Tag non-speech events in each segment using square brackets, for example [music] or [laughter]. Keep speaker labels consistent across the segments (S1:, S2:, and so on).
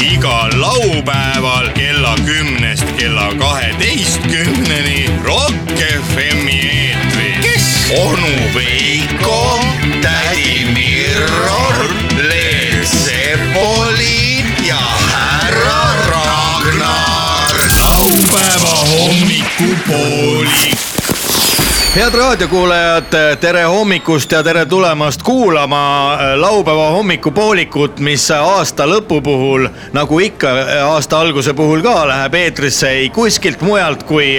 S1: igal laupäeval kella kümnest kella kaheteistkümneni Rock FM-i eetris . kes ? onu Veiko , tädi Mirror , Leel Sepoli ja härra Ragnar . laupäeva hommikupooli .
S2: head raadiokuulajad , tere hommikust ja tere tulemast kuulama äh, laupäeva hommikupoolikut , mis aasta lõpu puhul , nagu ikka äh, aasta alguse puhul ka , läheb eetrisse ei kuskilt mujalt kui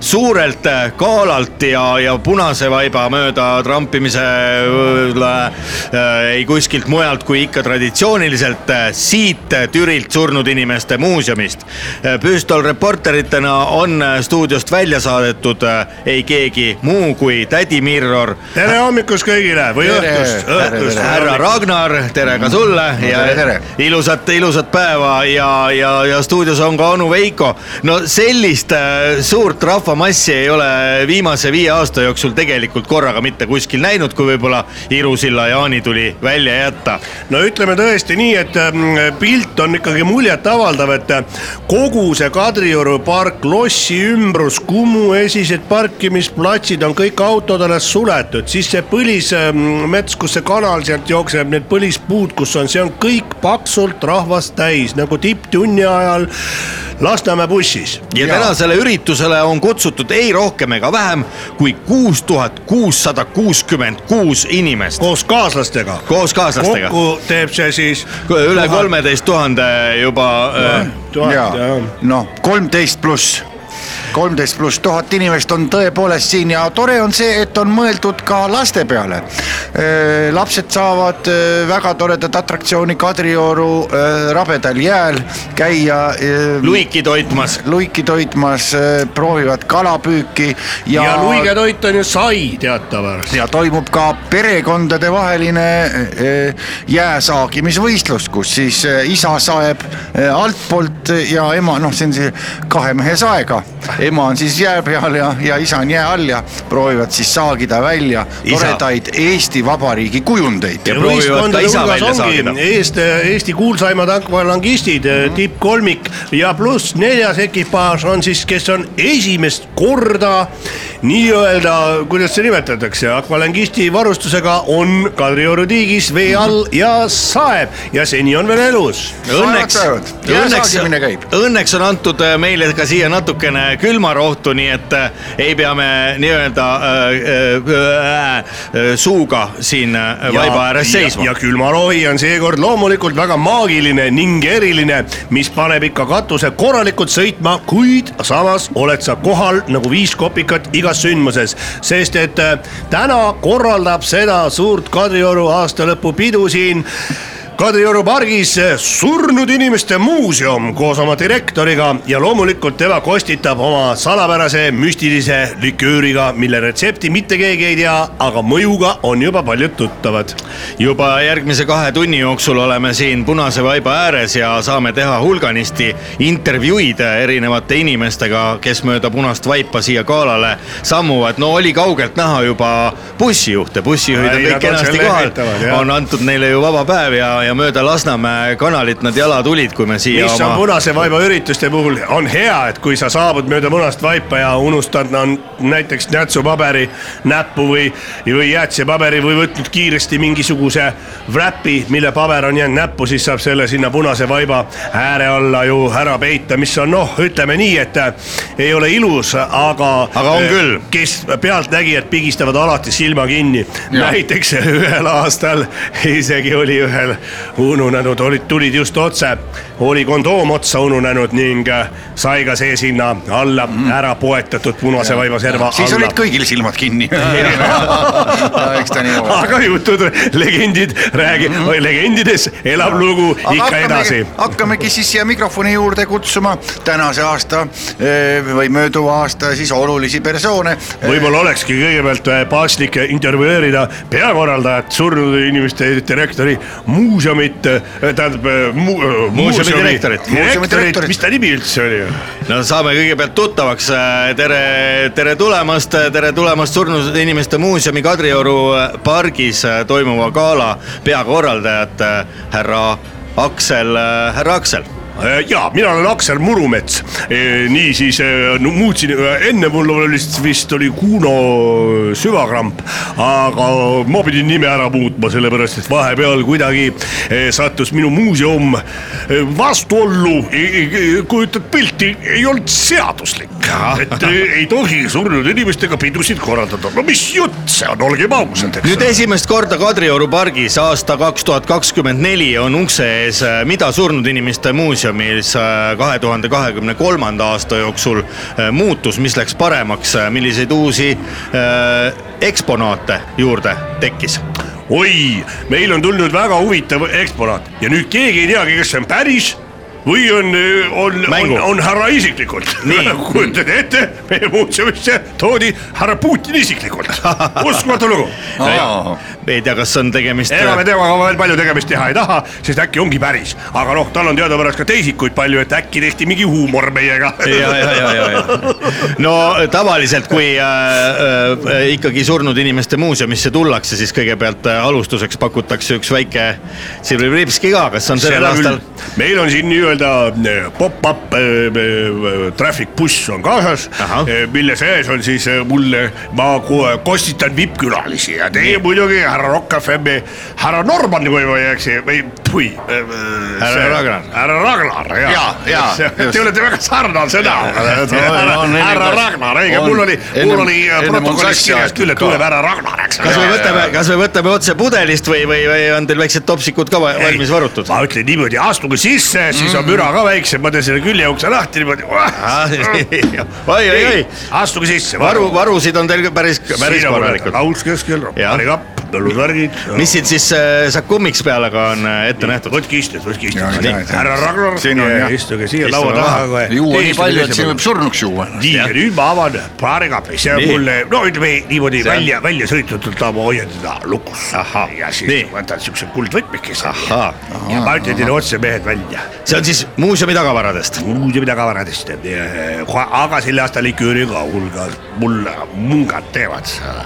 S2: suurelt äh, galalt ja , ja punase vaiba mööda trampimise äh, ei kuskilt mujalt kui ikka traditsiooniliselt äh, siit äh, Türilt surnud inimeste muuseumist . Püstol reporteritena on äh, stuudiost välja saadetud äh, ei keegi muu kui tädi Mirror ,
S3: tere hommikust kõigile või
S4: Tere.
S3: õhtust , õhtust .
S2: härra Ragnar , tere ka sulle ja
S4: tere, tere.
S2: ilusat , ilusat päeva ja , ja , ja stuudios on ka onu Veiko . no sellist äh, suurt rahvamassi ei ole viimase viie aasta jooksul tegelikult korraga mitte kuskil näinud , kui võib-olla Iru silla Jaani tuli välja jätta
S3: no ütleme tõesti nii , et ähm, pilt on ikkagi muljetavaldav , et äh, kogu see Kadrioru park , lossi ümbrus , Kumu esised parkimisplatsid on kõik autodele suletud , siis see põlismets , kus see kanal sealt jookseb , need põlispuud , kus on , see on kõik paksult rahvast täis nagu tipptunni ajal Lasnamäe bussis .
S2: ja tänasele üritusele on kutsutud ei rohkem ega vähem kui kuus tuhat kuussada kuuskümmend kuus inimest
S3: koos kaaslastega .
S2: koos kaaslastega .
S3: kokku teeb see siis
S2: üle kolmeteist tuhande juba äh,
S3: tuhat
S4: ja
S3: ja
S4: noh , kolmteist pluss , kolmteist pluss tuhat inimest on tõepoolest siin ja tore on see , et on mõeldud ka laste peale . lapsed saavad öö, väga toredat atraktsiooni Kadrioru öö, rabedal jääl käia .
S2: luiki toitmas .
S4: luiki toitmas , proovivad kalapüüki ja,
S3: ja luige toit on ju sai teatavasti .
S4: ja toimub ka perekondadevaheline eh, jääsaagimisvõistlus , kus siis eh, isa saeb eh, altpoolt ja ema , noh , see on see kahe mehe saega . ema on siis jää peal ja , ja isa on jää all ja proovivad siis saagida välja
S2: Isa.
S4: toredaid Eesti Vabariigi kujundeid .
S2: Ja proovivad ta noh. isa välja saagida.
S3: Eesti , Eesti kuulsaimad akvalangistid
S2: Mhm.
S3: mm , -hmm. tippkolmik ja pluss neljas ekipaaž on siis , kes on esimest korda nii-öelda , kuidas see nimetatakse , akvalangisti varustusega on Kadrioru tiigis vee all
S2: Mhm.
S3: ja saeb ja seni on veel elus .
S2: õnneks
S4: Saavad päevad. , Ja
S2: õnneks
S4: saagimine käib. ,
S2: õnneks on antud äh, meile ka siia natukene külmarohtu , nii et äh, ei pea me nii-öelda äh, äh, äh, suuga siin äh, vaiba ääres seisma
S3: ja . külmarohi on seekord loomulikult väga maagiline ning eriline , mis paneb ikka katuse korralikult sõitma , kuid samas oled sa kohal nagu viis kopikat igas sündmuses , sest et äh, täna korraldab seda suurt Kadrioru aastalõpupidu siin . Kadrioru pargis äh, surnud inimeste muuseum koos oma direktoriga ja loomulikult tema kostitab oma salapärase müstilise likööriga , mille retsepti mitte keegi ei tea , aga mõjuga on juba paljud tuttavad
S2: juba järgmise kahe tunni jooksul oleme siin Punase vaiba ääres ja saame teha hulganisti intervjuid erinevate inimestega , kes mööda punast vaipa siia galale sammuvad . no oli kaugelt näha juba bussijuhte , bussijuhid on
S3: Ei,
S2: kõik
S3: nad on
S2: kenasti
S3: seal lehvitavad,
S2: kohal ,
S3: jah.
S2: on antud neile ju vaba päev ja , ja mööda Lasnamäe kanalit nad jala tulid , kui me siia
S3: mis on
S2: oma
S3: punase vaiba ürituste puhul on hea , et kui sa saabud mööda punast vaipa ja unustad no, näiteks nätsupaberi näppu või , või jäätisepaberi või võtnud kiiresti mingisuguse wrap'i , mille paber on jäänud näppu , siis saab selle sinna punase vaiba ääre alla ju ära peita , mis on noh , ütleme nii , et äh, ei ole ilus , aga . äh,
S2: Aga on küll.
S3: kes pealtnägijad pigistavad alati silma kinni . näiteks ühel aastal isegi oli ühel ununenud , olid , tulid just otse , oli kondoom otsa ununenud ning äh, sai ka see sinna alla ära poetatud punase vaiba serva
S4: Mm. siis
S3: alla
S4: olid . kõigil silmad
S2: [laughs]
S4: kinni . eks ta nii ole .
S3: aga jutud , legendid räägi- mm , -hmm. legendides elab lugu
S4: Aga
S3: ikka edasi .
S4: hakkamegi siis siia mikrofoni juurde kutsuma tänase aasta eh, või mööduva aasta siis olulisi persoone .
S3: võib-olla olekski kõigepealt eh, paslik intervjueerida peakorraldajat , surnud inimeste direktori , muuseumit , tähendab eh, mu,
S2: Muuseumi direktorit.
S4: Muuseumi
S3: direktorit
S4: direktorit. ,
S3: mis ta nimi üldse oli ?
S2: no saame kõigepealt tuttavaks , tere , tere tulemast , tere tulemast Surnud Inimeste Muuseumi Kadrioru äh, pargis äh, toimuva gala peakorraldajat , äh, härra Aksel , härra Aksel .
S3: ja Äh, mina olen Aksel Murumets . niisiis eh, no, muutsin , enne mul oli vist- vist oli Kuno süvakramp , aga ma pidin nime ära muutma , sellepärast et vahepeal kuidagi eh, sattus minu muuseum eh, vastuollu , kujutad pilti , ei olnud seaduslik . et eh, ei tohi surnud inimestega pidusid korraldada , no mis jutt see on , olgem ausad , eks
S2: nüüd . esimest korda Kadrioru pargis aasta kaks tuhat kakskümmend neli on ukse ees äh, Mida surnud inimeste muuseumis äh, kahe tuhande kahekümne kolmanda aasta jooksul äh, muutus , mis läks paremaks , milliseid uusi äh, eksponaate juurde tekkis ?
S3: oi , meil on tulnud väga huvitav eksponaat ja nüüd keegi ei teagi , kas see on päris või on , on , on
S2: Mängu. ,
S3: on härra isiklikult
S2: [laughs] Nii. .
S3: [laughs] kujutate ette , meie muuseumisse toodi härra Putin
S2: [laughs]
S3: isiklikult . uskumatu lugu .
S2: ei tea , kas on tegemist äh,
S3: ega me temaga veel palju tegemist teha ei taha , sest äkki ongi päris , aga noh , tal on teadupärast ka teisikuid palju , et äkki tehti mingi huumor meiega .
S2: ja , ja , ja , ja , ja . no tavaliselt , kui äh, äh, ikkagi surnud inimeste muuseumisse tullakse , siis kõigepealt äh, alustuseks pakutakse üks väike Sibirivski ka , kas on sellel
S3: Seda küll.
S2: aastal ?
S3: meil on siin nii-öelda eh, pop-up eh, eh, traffic buss on kaasas
S2: Ahah. ,
S3: mille sees on siis eh, mulle , ma ko- kostitan vippkülalisi ja teie nii. muidugi härra Rock FM-i , härra Norman , kui ma ei eksi , või tui .
S2: Härra Ragnar.
S3: härra Ragnar ,
S1: Ja,
S3: jaa .
S1: ja,
S3: Te olete väga sarnase näoga .
S1: on
S3: härra
S1: inimest-
S3: Ragnar , õige ,
S1: on.
S3: mul oli ,
S1: Ennem-
S3: mul oli eh,
S1: ennem on
S3: protokollis
S1: sassi
S3: kirjas
S1: aetud
S3: küll , et
S1: ka.
S3: tuleb härra Ragnar , eks .
S2: kas me
S1: Jaa, jaa, ,
S2: võtame
S1: jaa.
S2: kas me võtame otse pudelist või , või , või on teil väiksed topsikud ka va-
S3: Ei,
S2: valmis varutud ? Mm.
S3: ma ütlen niimoodi , astuge sisse , siis on müra ka väiksem , ma teen selle küljeukse lahti niimoodi .
S2: Ah, oi , oi , oi ,
S3: astuge sisse .
S2: varu , varusid on teil päris , päris korralikud .
S3: laus keskel ,
S2: Jah.
S3: romanikapp , põlluvärgid .
S2: mis siin siis äh, sakummiks peale ka on äh, ette nähtud ?
S3: võtke istet , võtke
S5: Jaa,
S3: istet
S5: jaa, jaa. .
S3: härra Ragnar
S5: Siin on, , jah.
S3: istuge siia
S2: Istume
S3: laua
S2: maha.
S3: taha .
S4: juua nii palju , et siin võib surnuks juua .
S3: nii , ja nüüd ma avan paarikapi , see on
S2: Nii.
S3: mul , no ütleme niimoodi
S2: See on-
S3: välja , välja sõltutud , ma hoian teda lukus . ja
S2: Nii.
S3: siis võtan siukse kuldvõtmekese .
S2: Ahaa.
S3: ja ma ütlen teile otse , mehed , välja
S2: see on siis muuseumi tagavaradest .
S3: muuseumi tagavaradest , eh, aga sel aastal ei kööri ka hulgas , mul mungad teevad seda .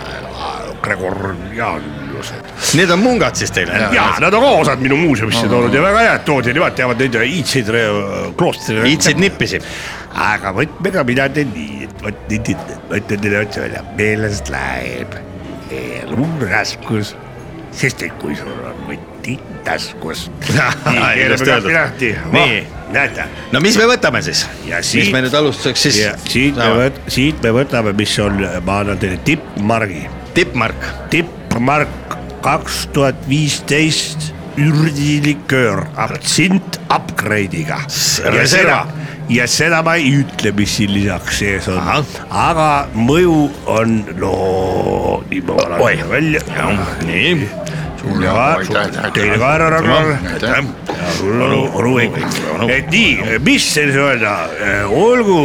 S3: Gregor ja ilusad .
S2: Need on mungad siis teile ?
S3: ja nad on ka osad minu muuseumisse toonud ja väga head toodi , nemad teavad neid iidseid re- kloostreid .
S2: iidseid nippisid .
S3: aga võtmega mina teen nii , et vot nüüd , ma ütlen teile otse välja , meelest läheb elu raskus , sest et kui sul on võti
S2: [laughs]
S3: taskus .
S2: Ilusti öeldud. Nii.
S3: Oh, näete
S2: no mis me võtame siis ?
S3: Ja siit-
S2: mis me nüüd alustuseks siis
S3: ja siit me võt- , siit me võtame , mis on , ma annan teile tippmargi ,
S2: tippmark ,
S3: tippmark kaks tuhat viisteist ürdiliköör , abtsint upgrade'iga .
S2: reserva.
S3: ja seda ma ei ütle , mis siin lisaks sees
S2: Ahah.
S3: on , aga mõju on , no nii ma
S2: Oi.
S3: annan välja .
S2: nii ,
S3: sulle
S4: Jaa, aitäh,
S3: ka ,
S4: aitäh.
S3: teile ka härra Ragnar
S4: Aitäh. Aitäh. .
S3: sul on ruuik , et nii , mis siis öelda , olgu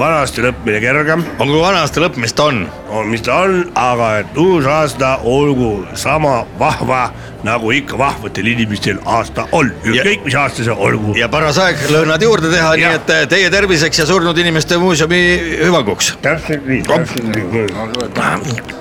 S3: vanasti lõppmine kergem
S2: on kui vana aasta lõpp , mis ta on ,
S3: on , mis ta on , aga et uus aasta olgu sama vahva , nagu ikka vahvatel inimestel aasta on , ükskõik mis aasta see olgu .
S2: ja paras aeg lõhnad juurde teha , nii
S3: Jah.
S2: et eh, teie terviseks ja surnud inimeste muuseumi hüvanguks .
S3: täpselt nii , täpselt nii .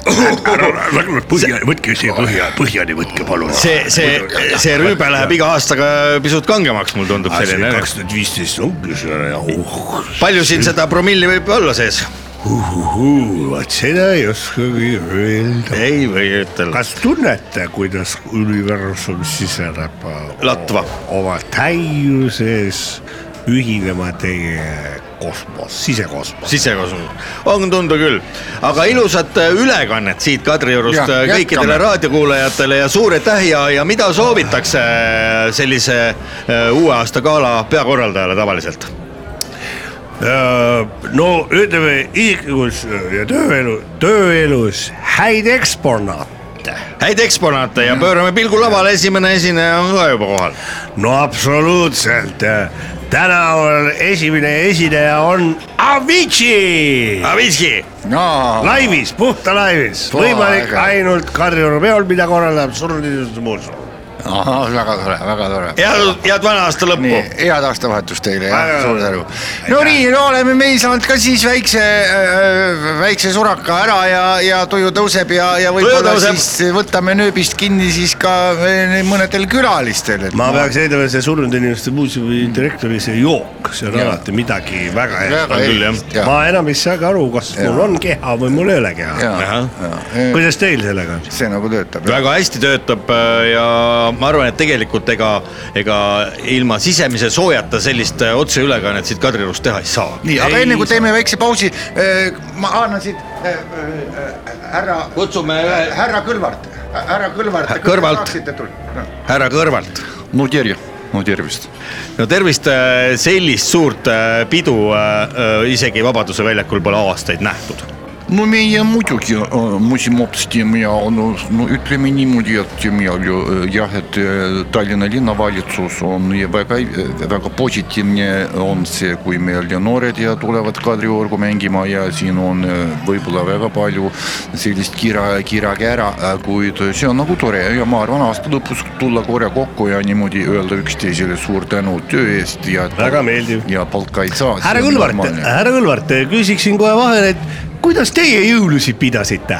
S3: [coughs] põhja , võtke see põhja , põhjani võtke palun .
S2: see , see , see rüübe läheb iga aastaga pisut kangemaks , mulle tundub selline .
S3: kaks tuhat viisteist ongi see , oh
S2: palju siin seda promilli võib olla sees ?
S3: uhuhuu , vot seda ei oskagi öelda .
S2: ei või ütelda .
S3: kas tunnete , kuidas universum siseneb
S2: Latva.
S3: oma täiuses ühinema teie kosmos , sisekosmos ?
S2: sisekasum , on tunda küll , aga ilusat eh, ülekannet siit Kadriorust
S5: Jah,
S2: eh,
S5: jätkame.
S2: kõikidele raadiokuulajatele ja suur aitäh ja , ja mida soovitakse eh, sellise eh, uue aasta gala peakorraldajale tavaliselt ?
S3: Äh, no ütleme isiklikus ja tööelu , tööelus häid eksponaate .
S2: häid eksponaate ja pöörame pilgu lavale , esimene esineja on ka juba kohal .
S3: no absoluutselt , tänaval esimene esineja on Avicii .
S2: Avitski ,
S5: jaa .
S3: laivis , puhta laivis , võimalik
S5: aega.
S3: ainult Kadrioru peol , mida korraldab surnud inimeste muuseum .
S5: ahah , väga tore , väga tore .
S2: head , head vana aasta lõppu
S5: nii , head aastavahetust teile
S3: Oh. Väga-
S5: ja suur tänu . no nii , no oleme me saanud ka siis väikse , väikse suraka ära ja , ja tuju tõuseb ja , ja võib-olla
S2: tõuseb.
S5: siis võtame nööbist kinni siis ka eh, mõnedel külalistel .
S3: ma peaks eeldama , see surnud inimeste muuseumi direktori see jook , see on ja. alati midagi väga
S5: Väga
S3: head .
S5: küll, jah.
S3: ma enam ei saagi aru , kas ja. mul on keha või mul ei ole keha . kuidas teil sellega on ?
S5: see nagu töötab .
S2: väga hästi töötab äh, ja ma arvan , et tegelikult ega , ega ilma sisemise soojata sellist äh, otseülekannet siit Kadriorust teha ei saa .
S5: nii , aga
S3: Ei
S5: enne kui
S3: saa.
S5: teeme väikse pausi , ma annan siit äh, äh, härra ,
S2: kutsume ühe
S5: härra Kõlvart , härra Kõlvart .
S2: Kõrvalt.
S5: saaksite tulla ?
S2: härra kõrvalt .
S4: no terje , no tervist .
S2: no tervist , sellist suurt äh, pidu äh, äh, isegi Vabaduse väljakul pole aastaid nähtud .
S4: no meie muidugi äh, muusimi otsustasime ja no, no ütleme niimoodi , et mina ju äh, jah , et äh, Tallinna linnavalitsus on ja väga , väga positiivne on see , kui meil ja noored ja tulevad Kadriorgu mängima ja siin on äh, võib-olla väga palju sellist kira , kirakära , kuid see on nagu tore ja ma arvan , aasta lõpus tulla korra kokku ja niimoodi öelda üksteisele suur tänu töö eest ja .
S3: Väga meeldiv.
S4: ja palka ei saa .
S3: härra Kõlvart , härra Kõlvart , küsiksin kohe vahele , et kuidas teie jõulusid pidasite ?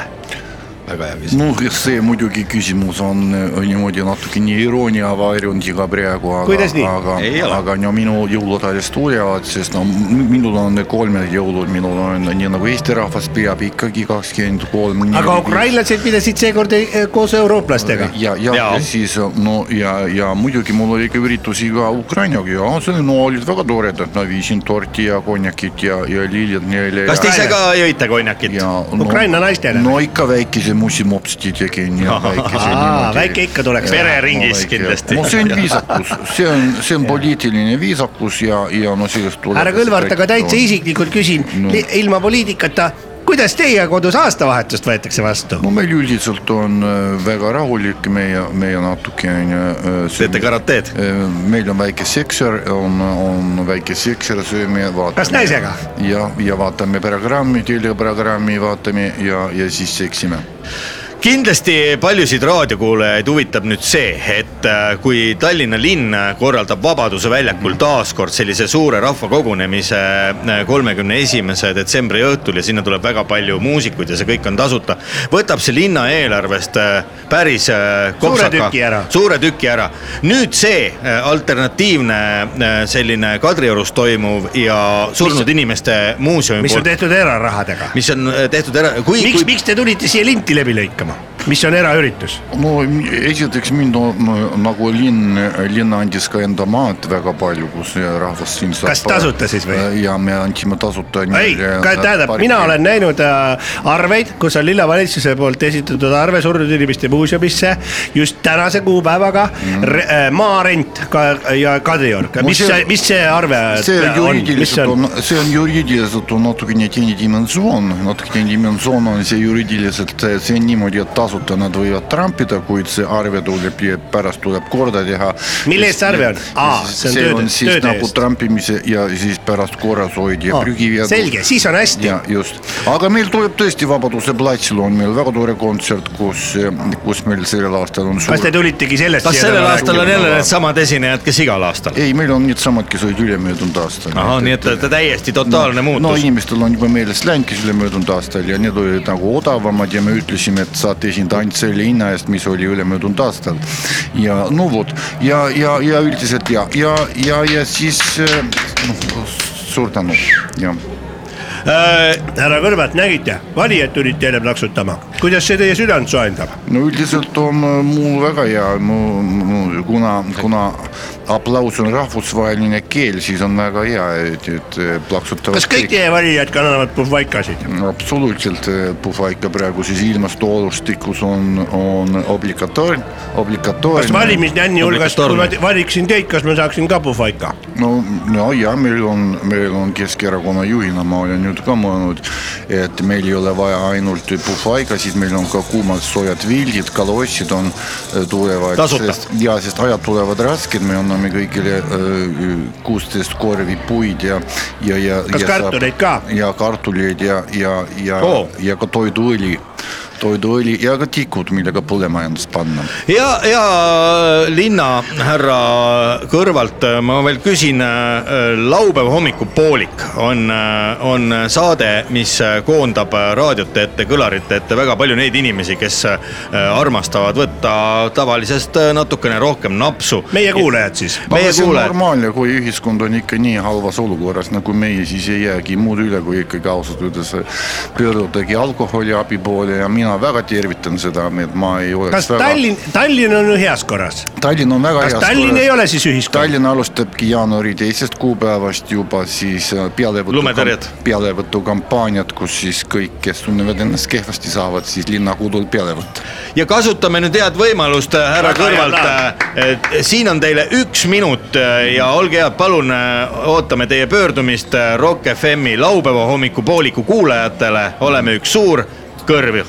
S4: Ну, see muidugi küsimus on äh, niimoodi natukene iroonia varjundiga praegu , aga
S3: Kuidas , nii?
S4: aga
S2: Ei , ole.
S4: aga no minu jõulud alles tulevad , sest no m- minul on kolmed jõulud , minul on nii nagu Eesti rahvas peab ikkagi kakskümmend kolm .
S3: aga . ukrainlased pidasid seekord eh, koos eurooplastega .
S4: ja , ja,
S2: Jaa.
S4: ja siis no ja , ja muidugi mul oli ka üritusi ka Ukrainaga ja see no olid väga toredad , ma viisin torti ja konjakit ja , ja lilled neile .
S2: kas te ise ka jõite konjakit ?
S4: ja
S3: Ukraina naistele?
S4: no ikka väikese mussimopsti tegin ja väikese
S3: Aa,
S4: niimoodi .
S3: väike ikka tuleks teha .
S2: pereringis kindlasti .
S4: no see on viisakus , see on , see on poliitiline viisakus ja , ja no sellest tuleb .
S3: härra Kõlvart , aga täitsa . isiklikult küsin
S4: No.
S3: no. , ilma poliitikata , kuidas teie kodus aastavahetust võetakse vastu ?
S4: no meil üldiselt on äh, väga rahulik , meie , meie natukene .
S2: teete karateed ?
S4: äh, meil on väike sekser , on , on väike sekser , sööme .
S3: Kas naisega? ?
S4: ja , ja vaatame programmi , teleprogrammi vaatame ja , ja siis seksime .
S2: kindlasti paljusid raadiokuulajaid huvitab nüüd see , et äh, kui Tallinna linn korraldab Vabaduse väljakul taas kord sellise suure rahvakogunemise äh, kolmekümne esimese detsembri õhtul ja sinna tuleb väga palju muusikuid ja see kõik on tasuta , võtab see linna eelarvest äh, päris äh,
S3: Suure
S2: kopsaka-
S3: tüki ära.
S2: suure tüki ära . nüüd see äh, alternatiivne äh, selline Kadriorus toimuv ja surnud inimeste muuseumi
S3: mis on
S2: poolt ,
S3: tehtud erarahadega .
S2: mis on äh, tehtud ära , kui ,
S3: miks ,
S2: kui
S3: miks te tulite siia linti läbi lõikama , mis on eraüritus ?
S4: no esiteks mind on nagu linn , linn andis ka enda maad väga palju , kus rahvas siin saab .
S3: Kas tasuta siis või? ?
S4: ja me andsime tasuta . äh,
S3: ei , tähendab , mina olen näinud äh, arveid , kus on linnavalitsuse poolt esitatud arve surnud inimeste muuseumisse just tänase kuupäevaga mm. re, äh, maarent ka, ja Kadriorg , mis
S4: see-
S3: see , mis see arve äh,
S4: see
S3: on , mis
S4: juriidiliselt
S3: see on ?
S4: on , see on juriidiliselt on natukene teine dimensioon , natukene dimensioon on see juriidiliselt , see on niimoodi , et tasuta nad võivad trampida , kuid see arve tuleb ja pärast tuleb korda teha .
S3: Mille eest see arve on? Aa, see on tööde-
S4: on siis
S3: tööde
S4: nagu
S3: eest.
S4: trampimise ja siis pärast korras hoid ja prügivedu .
S3: selge , siis on hästi
S4: ja just , aga meil tuleb tõesti Vabaduse platsil on meil väga tore kontsert , kus , kus meil sellel aastal on
S3: kas te
S4: suur .
S3: tulitegi sellest
S2: kas sellel aastal on jälle
S4: räägime.
S2: needsamad esinejad , kes igal aastal ?
S4: ei , meil on needsamad , kes olid ülemöödunud aastal .
S2: ahah , nii et ta- ta täiesti totaalne
S4: no
S2: muutus .
S4: inimestel on juba meelest läinud , kes ülemöödunud aastal ja need olid nagu odavamad ja me ütlesime , et saate esinda ainult selle hinna eest , mis oli ülemöödunud aastal . ja no vot ja , ja , ja üldiselt ja , ja , ja , ja siis eh, noh , suur tänu ja
S3: Äh, härra Kõlvart , nägite , valijad tulid teile plaksutama , kuidas see teie südant soojendab ?
S4: no üldiselt on eh, mul väga hea , mu , mu , kuna , kuna aplaus on rahvusvaheline keel , siis on väga hea , et , et eh, plaksutavad .
S3: kas kõik teie valijad kannavad puhvaikasid ?
S4: absoluutselt äh, puhvaika praeguses ilmastuolustikus on , on obligatoorne , obligatoorne .
S3: kas valimisnänni hulgas , kui ma
S2: Obligatoorne.
S3: te- valiksin teid , kas ma saaksin ka puhvaika ?
S4: no , no ja meil on , meil on Keskerakonna juhina , ma olen nüüd ka mõelnud , et meil ei ole vaja ainult puhvaika , siis meil on ka kuumad soojad vildid , kalossid on , tulevad .
S2: Tasuta.
S4: ja , sest ajad tulevad rasked , me anname kõigile äh, kuusteist korvi puid ja , ja , ja .
S3: Kas kartuleid ka?
S4: ja kartuleid ja , ja , ja
S2: Oo.
S4: ja ka toiduõli . toiduõli ja ka tikud , millega põlemajandust panna .
S2: ja , ja linnahärra kõrvalt äh, ma veel küsin , laupäeva hommikupoolik on , on saade , mis äh, koondab raadiote ette , kõlarite ette väga palju neid inimesi , kes äh, armastavad võtta tavalisest äh, natukene rohkem napsu .
S3: meie kuulajad siis .
S2: meie
S4: see on
S2: kuulajad ,
S4: normaalne , kui ühiskond on ikka nii halvas olukorras nagu meie , siis ei jäägi muud üle , kui ikkagi ausalt öeldes pöördudagi alkoholi abi poole ja mina väga tervitan seda , et ma ei oleks
S3: kas
S4: väga...
S3: Tallinn , Tallinn on heas korras ?
S4: Tallinn on väga
S3: kas
S4: heas
S3: Tallinn
S4: korras.
S3: ei ole siis ühiskond ?
S4: Tallinn alustabki jaanuari teisest kuupäevast juba siis äh, pealevõtu
S2: Lumetõrjet. ,
S4: pealevõtukampaaniat , kus siis kõik , kes tunnevad ennast kehvasti , saavad siis linnakodul peale võtta .
S2: ja kasutame nüüd head võimalust , härra
S3: Väga hea
S2: Kõrvalt , et siin on teile üks minut äh, ja olge head , palun äh, ootame teie pöördumist äh, Rock FM-i laupäeva hommikupooliku kuulajatele , oleme üks suur kõrv ju .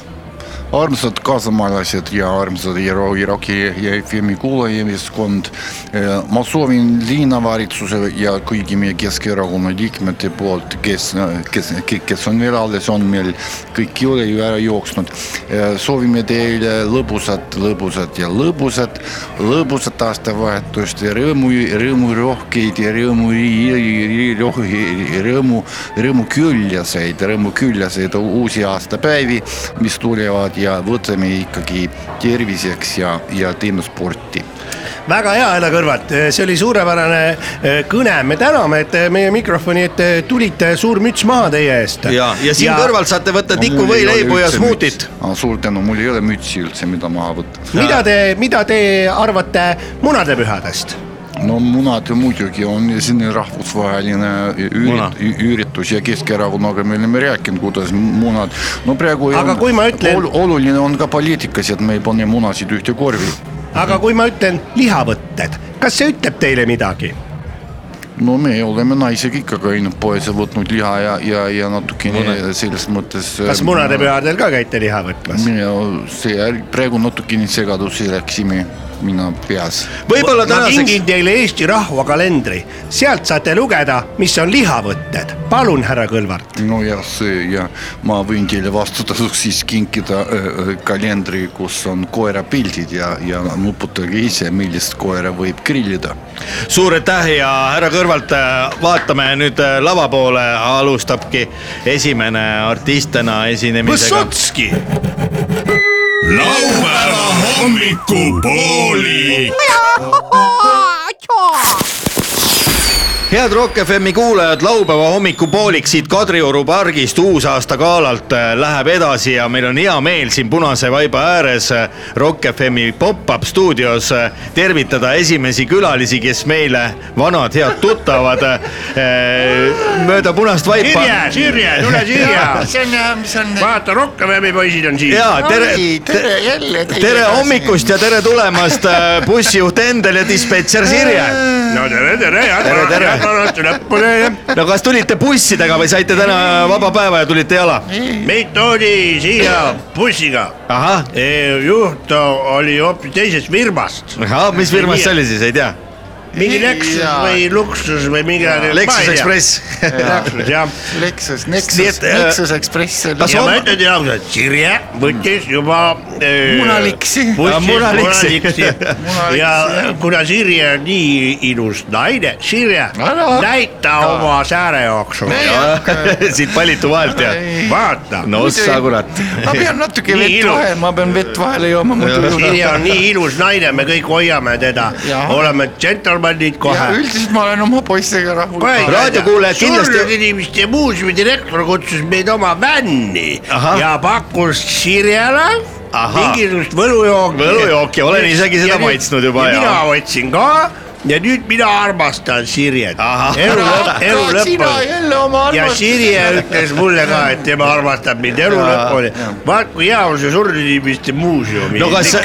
S4: armsad kaasamaalased ja armsad Iro- , Iroki ja FM-i kuulajaskond . Äh, ma soovin linnavalitsuse ja kõigi meie Keskerakonna liikmete poolt , kes , kes , kes on veel alles , on meil , kõik ei ole ju ära jooksnud . soovime teile lõbusat , lõbusat ja lõbusat , lõbusat aastavahetust ja rõõmu , rõõmurohkeid ja rõõmu , rõõmu , rõõmuküljaseid , rõõmuküljaseid uusi aastapäevi , mis tulevad ja võtame ikkagi terviseks ja , ja teeme sporti .
S3: väga hea , Helle Kõrvat , see oli suurepärane eh, kõne , me täname , et te meie mikrofoni ette tulite , suur müts maha teie eest .
S2: ja , ja siin kõrval saate võtta tiku võileibu ja smuutit ..
S4: suur tänu , mul ei ole mütsi üldse , mida maha võtta .
S3: mida te , mida te arvate munadepühadest ?
S4: no munad ju muidugi on selline rahvusvaheline
S2: Muna.
S4: ürit- üritus ja Keskerakonnaga me oleme rääkinud , kuidas munad , no praegu
S3: Aga
S4: on,
S3: kui ma ütlen-
S4: ol, oluline on ka poliitikas , et me ei pane munasid ühte korvi .
S3: aga kui ma ütlen lihavõtted , kas see ütleb teile midagi ?
S4: no me oleme naisega ikka käinud poes ja võtnud liha ja , ja , ja natukene Muna. selles mõttes .
S3: kas munadepühadel ka käite liha võtmas ?
S4: mina , see ärg- praegu natukene segadusi läksime , mina peas .
S2: võib-olla
S3: ma kingin
S2: tänaseks ,
S3: teile Eesti rahvakalendri , sealt saate lugeda , mis on lihavõtted . palun , härra Kõlvart .
S4: nojah , see ja ma võin teile vastutasuks siis kinkida äh, äh, kalendri , kus on koera pildid ja , ja nuputage ise , millist koera võib grillida .
S2: suur aitäh ja härra Kõrvalt , vaatame nüüd äh, lava poole , alustabki esimene artist täna esinemisega .
S3: Võssotski ,
S1: laupäeva hommikupoolik .
S2: head Rock FM-i kuulajad , laupäeva hommikupoolik siit Kadrioru pargist uusaastagaalalt äh, läheb edasi ja meil on hea meel siin punase vaiba ääres äh, Rock FM-i pop-up stuudios äh, tervitada esimesi külalisi , kes meile vanad head tuttavad äh, mööda punast vaipa .
S6: Sirje , Sirje , tule Sirje ,
S5: see on , see on .
S6: vaata Rocca Webi poisid on siin .
S2: ja tere ,
S5: tere jälle .
S2: tere . hommikust ja tere tulemast äh, bussijuht Endel ja dispetšer Sirje .
S6: no tere , tere ,
S2: Tere, tere.
S6: jätkame lõppu teile .
S2: no kas tulite bussidega või saite täna vaba päeva ja tulite jala ?
S6: meid toodi siia bussiga ,
S2: ahah ,
S6: juht oli hoopis teisest firmast ,
S2: ahah , mis firmas see oli siis , ei tea
S6: mingi Lexus või Luxus või mingi .
S2: Lexus . Express .
S6: Lexus jah ,
S5: Lexus ,
S2: Nii
S5: Nexus
S2: et, , äh,
S5: Nexus Express oli
S2: kas
S6: ja ma
S2: on-
S6: ütlen teile ausalt , Sirje võttis juba . э,
S5: Munaliksi.
S2: Ah, munaliksi.
S6: ja
S5: Munaliksi, jah.
S6: kuna Sirje on nii ilus naine , Sirje
S5: Ära hakka.
S6: näita oma sääre jooksul ,
S2: [laughs] siit Palitu vahelt ja .
S6: vaata
S2: no ossa kurat .
S5: ma pean natuke
S6: Nii
S5: vett
S6: ilu-
S5: vahele , ma pean vett vahele jooma , muidu ei ole .
S6: Sirje on nii ilus naine , me kõik hoiame teda
S5: Jah. ,
S6: oleme džentelmenid
S5: ja
S6: kohe .
S5: üldiselt ma olen oma poistega rahul .
S2: raadiokuulajad kindlasti-
S6: inimeste muuseumi direktor kutsus meid oma vänni
S2: Ahah.
S6: ja pakkus Sirjele
S2: Ahah.
S6: mingisugust võlujooki .
S2: Võlujooki, olen isegi seda maitsnud juba,
S6: ja .
S2: jaa.
S6: mina võtsin ka ja nüüd mina armastan Sirjet .
S2: Ahah.
S6: elu lõpp , elu
S5: sina
S6: lõpp
S5: jälle oma
S6: ja Sirje ütles mulle ka , et tema armastab mind elu lõpuni . vaat kui hea on see surnud inimeste muuseum .
S2: no kas ,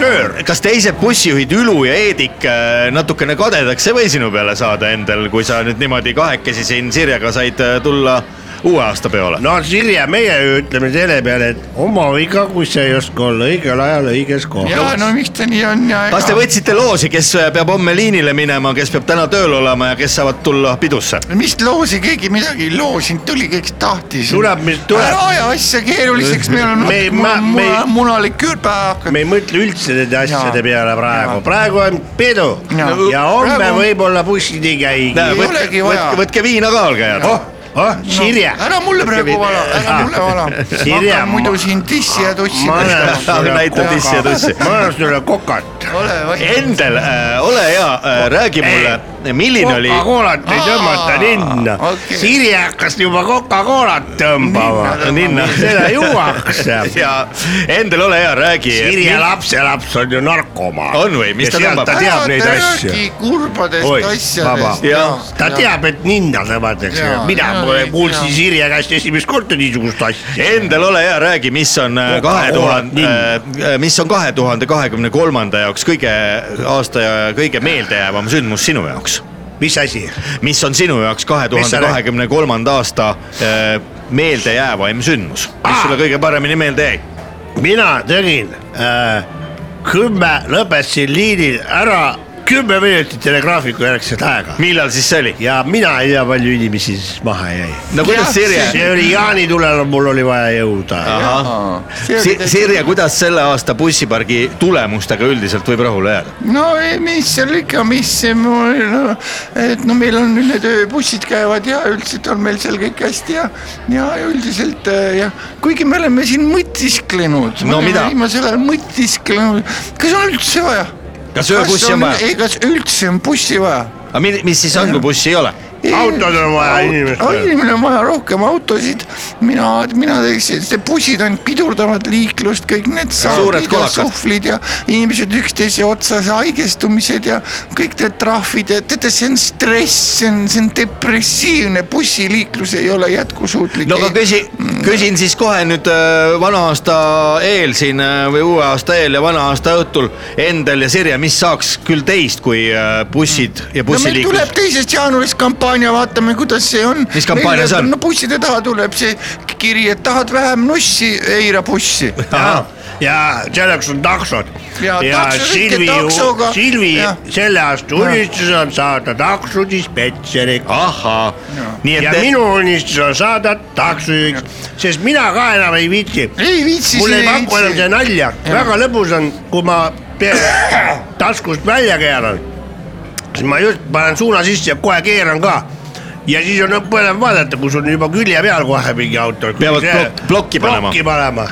S2: kas teised bussijuhid Ülu ja Eedik äh, natukene kadedaks ei või sinu peale saada endal , kui sa nüüd niimoodi kahekesi siin Sirjega said äh, tulla uue aasta peole .
S6: no Sirje , meie ju ütleme selle peale , et oma viga , kui sa ei oska olla õigel ajal õiges kohas .
S4: ja no miks ta nii on ja .
S2: kas te võtsite loosi , kes äh, peab homme liinile minema , kes peab täna tööl olema ja kes saavad tulla pidusse ?
S4: mis loosi , keegi midagi ei loosinud , tuli , keegi tahtis .
S6: Tuleb, mis tuleb.
S4: ära aja asja keeruliseks , meil on
S6: Me ei- ma-
S4: natuke
S6: me ei-
S4: muna , munalik küürpäev hakkab .
S6: me ei mõtle üldse nende asjade
S4: Jaa.
S6: peale praegu , praegu on pidu ja,
S4: Jaa.
S6: ja homme
S4: Praegu-
S6: võib-olla bussid ei käigi .
S4: Ei olegi vaja.
S2: võtke viina ka , olge head . [laughs]
S6: oh , oh , Sirje ,
S4: ära mulle praegu vala , ära mulle vala .
S6: Sirje,
S4: hakkan muidu siin tissi ja tussi
S6: ma annan
S4: tõstma .
S6: sulle
S2: näitab tissi ja tussi.
S6: ma annan sulle kokat .
S4: ole vait .
S2: Endel , ole hea , räägi mulle , milline oli ,
S6: Coca-Colat ei tõmmata
S4: Aa,
S6: ninna
S4: okei.
S6: okay. . Sirje hakkas juba Coca-Colat tõmbama .
S2: Ninna.
S6: seda
S2: [laughs]
S6: juuakse .
S2: ja Endel , ole hea , räägi .
S6: Sirje lapselaps on ju narkomaan .
S2: On või? Mis ta tõmbab?
S6: ta teab neid asju . Oi,
S4: kurbadest
S6: vaba.
S4: asjadest .
S2: Jaa.
S6: ta teab , et ninna tõmmatakse
S4: Jaa, ,
S6: mina
S4: jaa,
S6: pole-
S4: jaa.
S6: kuulsin Sirje käest esimest korda niisugust asja .
S2: Endel , ole hea , räägi , mis on äh, kahe tuhande , äh, mis on kahe tuhande kahekümne kolmanda jaoks kõige aasta ja kõige meeldejäävam sündmus sinu jaoks ?
S6: mis asi ?
S2: mis on sinu jaoks kahe
S6: Mis
S2: tuhande
S6: sa
S2: kahekümne kolmanda aasta äh, meeldejäävaim sündmus , mis
S6: Aa!
S2: sulle kõige paremini meelde jäi ?
S6: mina tegin äh, kümme , lõpetasin liinil ära kümme minutit telegraafiku järgset aega
S2: millal siis see oli ?
S6: ja mina ei tea , palju inimesi siis maha jäi .
S2: no kuidas Sirje ,
S6: see oli jaanitulel , mul oli vaja jõuda .
S2: Sirje , kuidas selle aasta bussipargi tulemustega üldiselt võib rahule jääda ?
S4: no ei, mis seal ikka , mis see mul , no, et no meil on need bussid käivad ja üldiselt on meil seal kõik hästi ja , ja üldiselt äh, jah , kuigi me oleme siin mõtisklenud .
S2: No mida?
S4: viimasel ajal mõtisklenud , kas on üldse vaja ?
S2: Kas ööbussi on vaja?
S4: ei , kas üldse on bussi vaja ?
S2: aga mi- mis siis on , kui bussi ei ole ?
S6: Autod on vaja inimestele.
S4: inimene on vaja rohkem autosid , mina , mina teeksin , sest bussid ainult pidurdavad liiklust , kõik need saagid ja
S2: kolakad.
S4: suhvlid ja inimesed üksteise otsas haigestumised ja kõik need trahvid ja teate , see on stress , see on , see on depressiivne , bussiliiklus ei ole jätkusuutlik .
S2: no aga küsi , küsin siis kohe nüüd äh, vana aasta eel siin äh, või uue aasta eel ja vana aasta õhtul Endel ja Sirje , mis saaks küll teist , kui äh, bussid ja
S4: no meil tuleb
S2: bussiliiklus ? [laughs]
S4: teisest jaanuarist kampaania , vaatame , kuidas see on .
S2: Mis kampaania see on?
S4: no busside taha tuleb see kiri , et tahad vähem nussi , eira
S2: [laughs]
S4: bussi
S6: ja selleks on taksod .
S4: Ja taksod ikka
S6: Silvi ,
S4: taksoga.
S6: Silvi
S4: Jah.
S6: selle aasta unistus on saada taksodispetšeriks .
S2: ahhaa , nii
S6: ja
S2: et te...
S6: minu unistus on saada taksojuhiks , sest mina ka enam ei viitsi
S4: ei viitsi .
S6: mul ei paku enam see nalja , väga lõbus on , kui ma pea taskust välja keeran , siis ma just panen suuna sisse ja kohe keeran ka . ja siis on põnev vaadata , kui sul on juba külje peal kohe mingi auto .
S2: Peavad plokk- plokki panema.
S6: plokki panema ,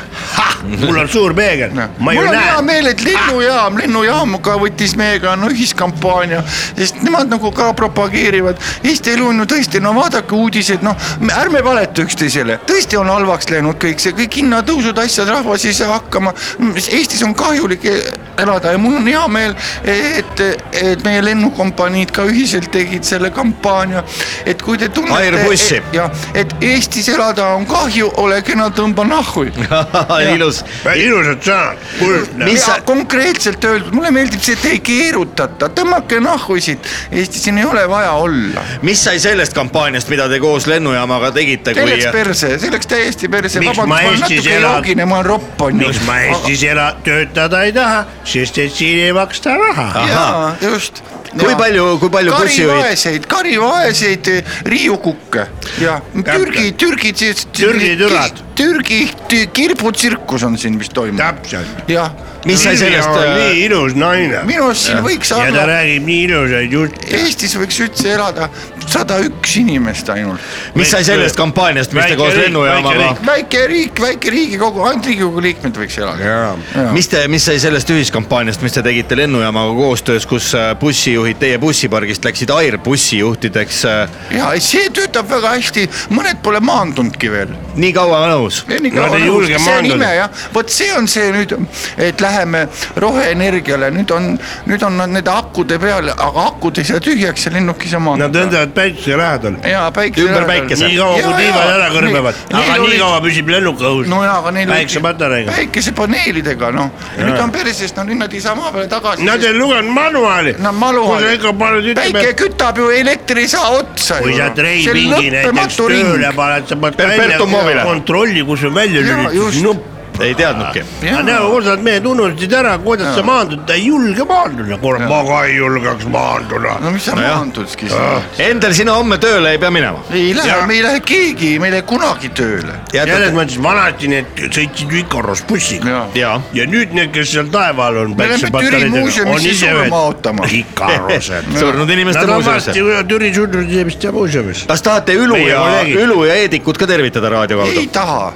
S6: mul on suur peegel , ma
S4: mul
S6: ju
S4: on hea
S6: näen . Ah.
S4: meel , et lennujaam , lennujaam ka võttis meiega no ühiskampaania , sest nemad nagu ka propageerivad . Eesti elu on ju tõesti , no vaadake uudiseid , noh me- ärme valeta üksteisele , tõesti on halvaks läinud kõik see , kõik hinnatõusud , asjad , rahvas ei saa hakkama . Eestis on kahjulik e- elada ja mul on hea meel , et , et meie lennukompaniid ka ühiselt tegid selle kampaania , et kui te
S2: Airbussi.
S4: tunnete , jah , et Eestis elada on kahju , ole kena , tõmba nahhu
S6: [laughs]
S2: ilus ,
S6: ilusad sõnad , kuldne .
S2: Mis
S4: mis ja
S2: sa-
S4: konkreetselt öeldud , mulle meeldib see , et ei keerutata , tõmmake nahku siit , Eestis siin ei ole vaja olla .
S2: mis sai sellest kampaaniast , mida te koos lennujaamaga tegite , kui äh,
S4: selleks perse , selleks täiesti perse ,
S6: Miks
S4: vabandust ,
S6: ma
S4: ma olen
S6: Eestis
S4: natuke
S6: elan?
S4: joogine , ma olen ropp on ju .
S6: miks ma Eestis ela , töötada ei taha , sest et siin ei maksta
S2: Ah.
S6: raha .
S4: jaa , just .
S2: Kui palju- kui palju bussijuhid-
S4: karivaeseid , karivaeseid eh, riiukukke ja Türgi , Türgi .
S6: Türgi türad. .
S4: Türgi tü- kirbutsirkus on siin vist toimunud .
S6: täpselt .
S4: jah ,
S2: mis sai sellest , äh,
S6: nii ilus naine
S4: minu arust siin võiks
S6: ja ta
S4: olla ,
S6: räägib nii ilusaid jutte .
S4: Eestis võiks üldse elada sada üks inimest ainult
S2: mis sai sellest kampaaniast , mis te
S6: väike
S2: koos
S6: riik, väike
S2: lennujaamaga
S6: riik. ,
S4: väike riik , väike riigikogu , ainult riigikogu liikmed võiks elada .
S2: mis te , mis sai sellest ühiskampaaniast , mis te tegite lennujaamaga koostöös , kus äh, bussijuhid teie bussipargist läksid airbussijuhtideks , äh,
S4: ja see töötab väga hästi , mõned pole maandunudki veel .
S2: nii kaua nõus ?
S6: Nad ei julge maanduda.
S4: vot see on see nüüd , et läheb
S5: läheme roheenergiale , nüüd on , nüüd on nad nende akude peal , aga akud ei saa tühjaks ja lennukis oma .
S6: Nad lendavad päikese lähedal .
S5: ja päike .
S2: Ümber päikese.
S6: nii kaua , kui
S5: Jaa,
S6: tiivad
S5: jaa.
S6: ära kõrbevad ,
S5: Nii-
S6: aga
S5: neil
S6: nii
S5: olid-
S6: kaua püsib lennuk õhus
S5: no jaa , aga neil .
S6: päikesepatareiga .
S5: päikesepaneelidega , noh . nüüd on perses , no nüüd nad ei saa maa peale tagasi .
S6: Nad ei lugenud manuaali .
S5: Nad malu
S6: kui sa ikka paned ,
S5: päike
S6: ütleme ,
S5: kütab ju , elektri ei saa otsa .
S6: kui sa treipingi näiteks tööle paned , sa pead
S2: Perpetuum mobile.
S6: välja kontrolli , kus on välja
S5: Jaa, just.
S6: lülitatud .
S2: ei teadnudki .
S5: Jaa.
S6: aga näe , osad mehed unustasid ära , kuidas sa maandud , ta ei julge maanduda , kurat , ma ka ei julgeks maanduda .
S5: no mis sa maanduski
S6: Ah.
S5: siis ?
S2: Endel , sina homme tööle ei pea minema .
S5: ei lähe , me ei lähe keegi , me ei lähe kunagi tööle .
S6: selles mõttes vanasti need sõitsid ju Ikaros bussiga
S5: jaa .
S2: ja ,
S6: ja nüüd need , kes seal taeva all on ,
S5: Me lähme Türi muuseumisse surma ootama.
S6: Ikarosed .
S2: surnud inimeste
S6: Nad on
S2: muuseumisse
S6: varsti . Türi surnud inimeste muuseumis .
S2: kas tahate Ülu
S6: Meie
S2: ja ,
S6: kolleegid.
S2: Ülu ja Eedikut ka tervitada raadio kaudu
S5: ei ? taha .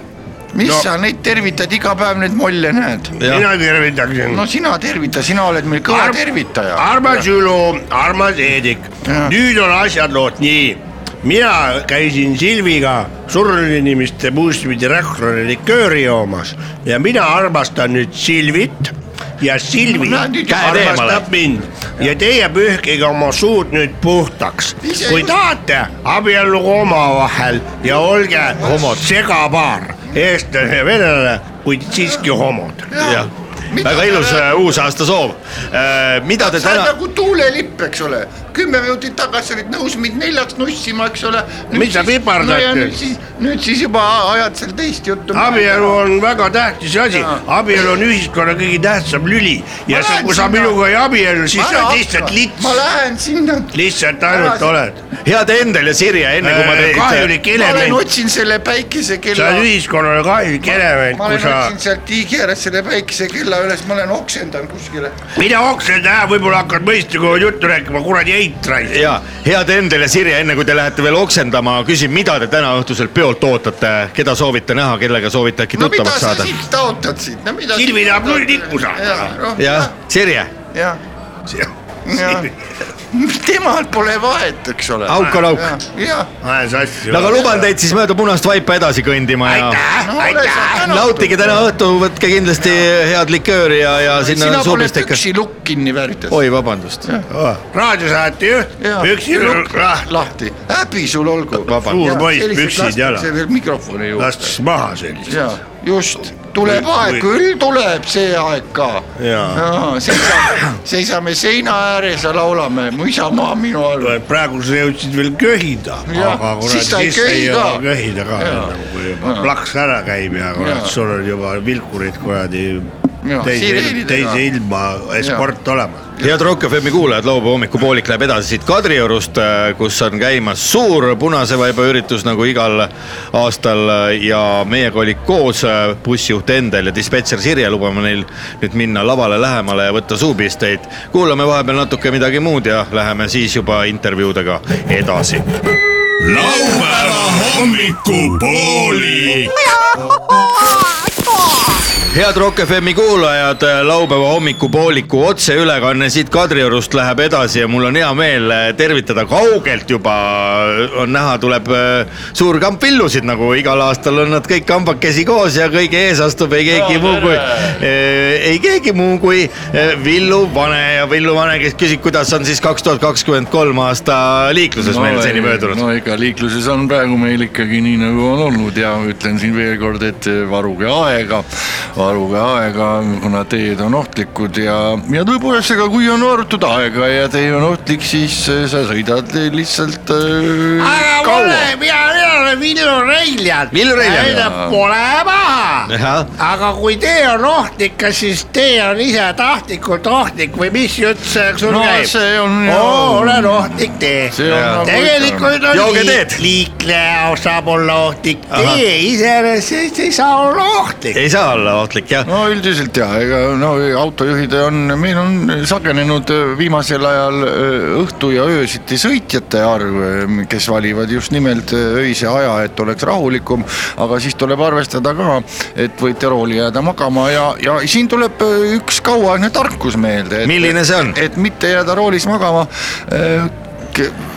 S5: mis no. sa neid tervitad , iga päev neid molle näed .
S6: mina tervitaksin
S5: no sina tervita , sina oled meil kõva
S6: Arm-
S5: tervitaja .
S6: armas Ülu , armas Eedik ,
S5: Jah.
S6: nüüd on asjad lood nii . mina käisin Silviga surnud inimeste muuseumide rekordi likööri joomas ja mina armastan nüüd Silvit ja Silvi
S5: No nüüd
S2: käed eemale.
S6: armastab mind ja teie pühkige oma suud nüüd puhtaks .
S5: Ise
S6: kui
S5: ju-
S6: tahate , abielluge omavahel ja olge
S2: Homod.
S6: segapaar , eestlane ja venelane , kuid siiski homod .
S2: jah , väga ilus . äh, uusaasta soov . mida te
S5: sa oled
S2: täna ,
S5: nagu tuulelipp , eks ole . kümme minutit tagasi olid nõus mind neljaks nussima , eks ole .
S6: Mis sa pipardad nüüd?
S5: nüüd siis , nüüd siis juba ajad seal teist juttu .
S6: abielu on väga tähtis asi
S5: Jaa. ,
S6: abielu on ühiskonna kõige tähtsam lüli ja
S5: Ma
S6: sa,
S5: lähen
S6: kui sa
S5: sinna.
S6: minuga ei abiellu , siis sa oled lihtsalt
S5: ma
S6: lits ,
S5: lähen sinna .
S6: lihtsalt ainult
S5: Ära-
S6: oled .
S2: head Endel ja Sirje , enne kui ma teid
S6: Äh, kahjulik
S5: Nagu ma lähen
S6: element ,
S5: otsin selle päikesekella .
S6: sa oled ühiskonnale kahjulik element ,
S5: ma
S6: kui
S5: lähen
S6: sa ,
S5: otsin sealt tiigi ääres selle päikesekella üles , ma lähen oksendan kuskile .
S6: mida oksed ära , võib-olla hakkad mõistlikku juttu rääkima , kuradi eit raisk .
S2: ja head Endel ja Sirje , enne kui te lähete veel oksendama , küsin , mida te täna õhtusel peolt ootate , keda soovite näha , kellega soovite äkki
S5: no mida
S2: tuttavaks
S5: sa
S2: saada ?
S5: siit taotad siit , no mida .
S6: Silvi tahab null tikku saada.
S2: jah , Sirje ,
S5: jah ,
S6: [laughs]
S5: jah , temalt pole vahet , eks ole .
S2: auk on auk .
S5: jah ,
S6: ajan sassi .
S2: no aga luban teid siis mööda punast vaipa edasi kõndima ja
S6: aitäh , aitäh .
S2: nautige täna õhtu , võtke kindlasti head likööri ja , ja
S5: sina
S2: sinna
S5: pole
S2: soobistega .
S5: püksilukk kinni värvides .
S2: oi , vabandust ,
S5: Noh.
S6: raadiosaatejuht , püksi lahti ,
S5: lahti , häbi sul olgu .
S6: Suur poiss, püksid jalas.
S5: mikrofoni juurde .
S6: lastis maha sellist .
S5: ja just , tuleb
S6: Või-
S5: aeg ,
S6: või-
S5: küll tuleb see aeg ka .
S6: Jaa. [coughs]
S5: seisame , seisame seina ääres ja laulame Mu isamaa on minu all .
S6: praegu sa jõudsid veel köhida ,
S5: Jah,
S6: aga kurat
S5: siis
S6: siis
S5: ta ei
S6: ei
S5: köhi
S6: jõua
S5: ka.
S6: köhida ka
S5: Jaa.
S6: enam , nagu kui juba
S5: Jaa.
S6: plaks ära käib ja
S5: Jaa.
S6: kurat , sul on juba vilkurid kuradi
S5: Jaa,
S6: teise ,
S5: sireenidega.
S6: teise ilma eskort olemas .
S2: head Rock FM-i kuulajad , laupäeva hommikupoolik läheb edasi siit Kadriorust , kus on käimas suur punase vaiba üritus nagu igal aastal äh, ja meiega olid koos äh, bussijuht Endel ja dispetšer Sirje , lubame neil nüüd minna lavale lähemale ja võtta suupiisteid . kuulame vahepeal natuke midagi muud ja läheme siis juba intervjuudega edasi .
S1: laupäeva hommikupoolik .
S2: head Rock FM-i kuulajad , laupäeva hommikupooliku otseülekanne siit Kadriorust läheb edasi ja mul on hea meel eh, tervitada kaugelt juba , on näha , tuleb äh, suur kamp villusid , nagu igal aastal on nad kõik kambakesi koos ja kõige ees astub ei keegi muu kui , ei keegi muu kui äh, Villu Vane ja Villu Vane , kes küsib , kuidas on siis kaks tuhat kakskümmend kolm aasta liikluses meil seni möödunud .
S4: no ega liikluses on praegu meil ikkagi nii , nagu on olnud ja ütlen siin veel kord , et varuge aega , varuge aega , kuna teed on ohtlikud ja , ja tõepoolest , ega kui on varutud aega ja tee on ohtlik , siis eh, sa sõidad lihtsalt eh,
S6: aga
S4: kaua .
S6: mulle , mina , mina olen Villu Reiljand .
S2: Villu Reiljand.
S6: ütleb , pole maha .
S2: jah ,
S6: aga kui tee on ohtlik , kas siis tee on ise tahtlikult ohtlik või mis jutt see sul
S4: no
S6: käib ?
S4: see on
S6: oo , olen ohtlik tee .
S4: See on nagu
S6: tegelikult on
S2: Jooge teed.
S6: liik- liikleja saab olla ohtlik
S2: Ahah.
S6: tee , iseenesest ei saa olla ohtlik .
S2: ei saa olla ohtlik jah .
S4: no üldiselt ja , ega no autojuhid on , meil on sagenenud öö, viimasel ajal öö, õhtu ja öösiti sõitjate arv , kes valivad just nimelt öö, öise aja , et oleks rahulikum . aga siis tuleb arvestada ka , et võite rooli jääda magama ja , ja siin tuleb öö, üks kauaaegne tarkus meelde .
S2: milline see on ?
S4: et mitte jääda roolis magama .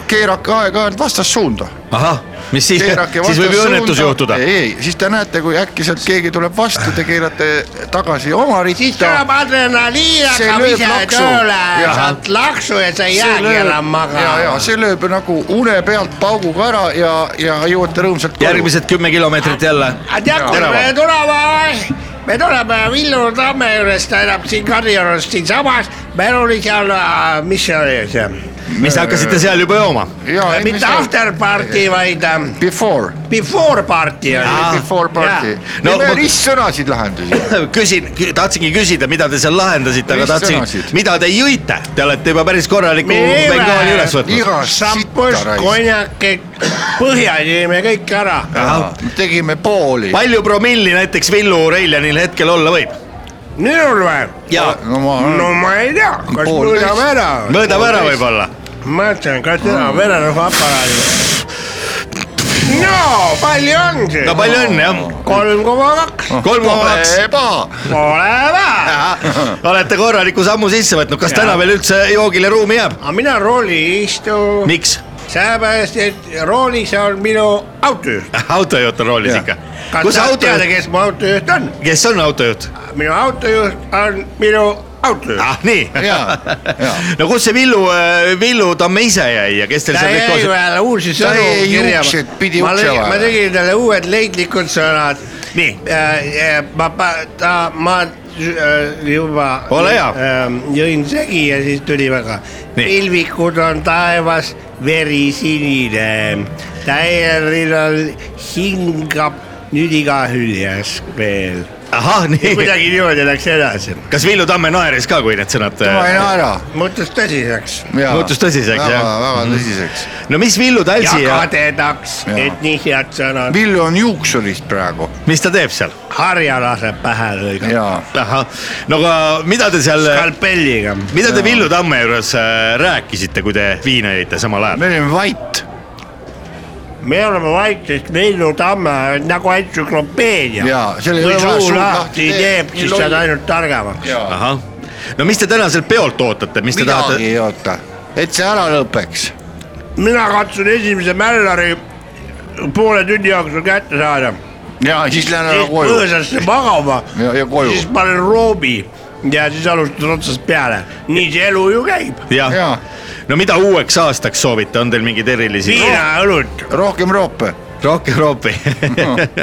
S4: keerake äh, aeg-ajalt vastassuunda
S2: ahah , mis siis ,
S4: keerake
S2: siis võib ju
S4: vastassuunda-
S2: õnnetus juhtuda .
S4: ei , ei , siis te näete , kui äkki sealt keegi tuleb vastu , te keerate tagasi oma
S6: siis
S4: ritta
S6: tuleb . adrenaliin
S4: See
S6: hakkab
S4: lööb
S6: ise
S4: laksu.
S6: tööle ,
S4: Jah.
S6: saad laksu ja sa ei jäägi enam
S4: ja , ja
S6: magama .
S4: see lööb nagu une pealt pauguga ära ja , ja jõuate rõõmsalt koju .
S2: järgmised kümme kilomeetrit jälle .
S6: aga tead , kui
S4: Terava.
S6: me tuleme , me tuleme Villu tamme juurest , ta elab siin Kadriorus siinsamas , meil oli seal , mis see oli see ,
S2: mis te hakkasite seal juba jooma ?
S4: ja
S6: mitte after party , vaid äh,
S4: Before ,
S6: before party oli .
S4: before party .
S2: No
S4: no me
S2: ma-
S4: ristsõnasid lahendasime .
S2: küsin , tahtsingi küsida , mida te seal lahendasite , aga
S4: Mis
S2: tahtsin
S4: sõnasid? ,
S2: mida te jõite , te olete juba päris korraliku
S6: Meele!
S2: bengaali üles võtnud .
S4: iga
S6: šampus
S4: sitta , raisk .
S6: konjak , põhja jõime kõik ära .
S4: tegime pooli .
S2: palju promilli näiteks Villu Reiljanil hetkel olla võib ?
S6: minul või ?
S2: jaa ,
S4: no ma
S6: no ma ei tea , kas
S4: Pool
S6: mõõdame
S4: teist.
S6: ära .
S2: mõõdab ära . võib-olla .
S6: mõtlen , kas seda vererõhuaparaadi . no palju on siis
S2: no palju on jah ?
S6: kolm koma kaks ,
S2: kolm koma kaks ,
S4: eba ,
S2: Ah.
S6: pole vähe .
S2: olete korraliku sammu sisse võtnud , kas täna veel üldse joogile ruumi jääb ?
S6: aga mina rooli ei istu ,
S2: miks ?
S6: sellepärast et roolis on minu autojuht .
S2: autojuht on roolis ikka .
S6: kas
S2: Ah, kus
S6: sa tead ,
S2: autojuht ,
S6: kes mu autojuht on ?
S2: kes on autojuht ?
S6: minu autojuht on minu autojuht .
S2: ah nii
S4: Jaa,
S2: [laughs]
S4: jaa. ,
S2: no kus see Villu , Villu Tamme ise jäi ja kes teil
S6: ta
S2: seal kõik
S6: jäi
S2: koos ?
S6: veel uusi
S4: Ta
S6: sõnu
S4: jäi
S6: kirja
S4: juukseid pidi .
S6: ma
S4: ukse
S6: lõi-
S4: vahele.
S6: ma tegin talle uued leidlikud sõnad .
S2: Nii.
S6: ma , ta , ma äh, juba .
S2: Ole hea.
S6: jõin segi ja siis tuli väga .
S2: Nii.
S6: pilvikud on taevas verisinine , täiel rinnal hingab nüüd iga hüljes veel .
S2: ahah [laughs] nii ,
S6: kuidagi niimoodi läks edasi ,
S2: kas Villu Tamme naeris ka , kui need sõnad ? äh,
S4: ma ei naera .
S6: muutus tõsiseks .
S2: Muutus tõsiseks, jah.
S4: väga tõsiseks .
S2: no mis Villu
S6: ja
S2: Talsi ja
S6: kadedaks ,
S4: Jaa.
S6: et nii head sõnad ,
S4: Villu on juuksurist praegu
S2: mis ta teeb seal ?
S6: harja laseb pähe lõigata .
S4: ja
S2: ahah , no aga mida te seal ,
S6: skalpelliga .
S2: mida te Villu Tamme juures äh, rääkisite , kui te viina jõite samal ajal ?
S4: me olime vait .
S6: me oleme vaikselt Villu Tamme nagu entsüklopeedia .
S4: Jaa, seal ei
S6: kui
S4: ole vaja
S6: suu
S4: suud
S6: lahti
S4: lahti
S6: teeb ,
S4: teha,
S6: siis
S4: nii
S6: saad
S4: loll.
S6: ainult targemaks .
S2: ahah , no mis te tänaselt peolt ootate , mis te
S4: midagi
S2: tahate ?
S4: ei oota , et see ära lõpeks .
S6: mina katsun esimese Mällari poole tunni jooksul kätte saada ,
S4: ja siis lähen ära
S6: siis
S4: koju .
S6: põõsasse magama ,
S4: ja , ja koju .
S6: siis panen roobi ja siis alustad otsast peale . nii see elu ju käib .
S2: jah
S4: jaa. ,
S2: no mida uueks aastaks soovite , on teil mingeid erilisi ?
S6: viina ja õlut ,
S4: rohkem roope ,
S2: rohkem roopi .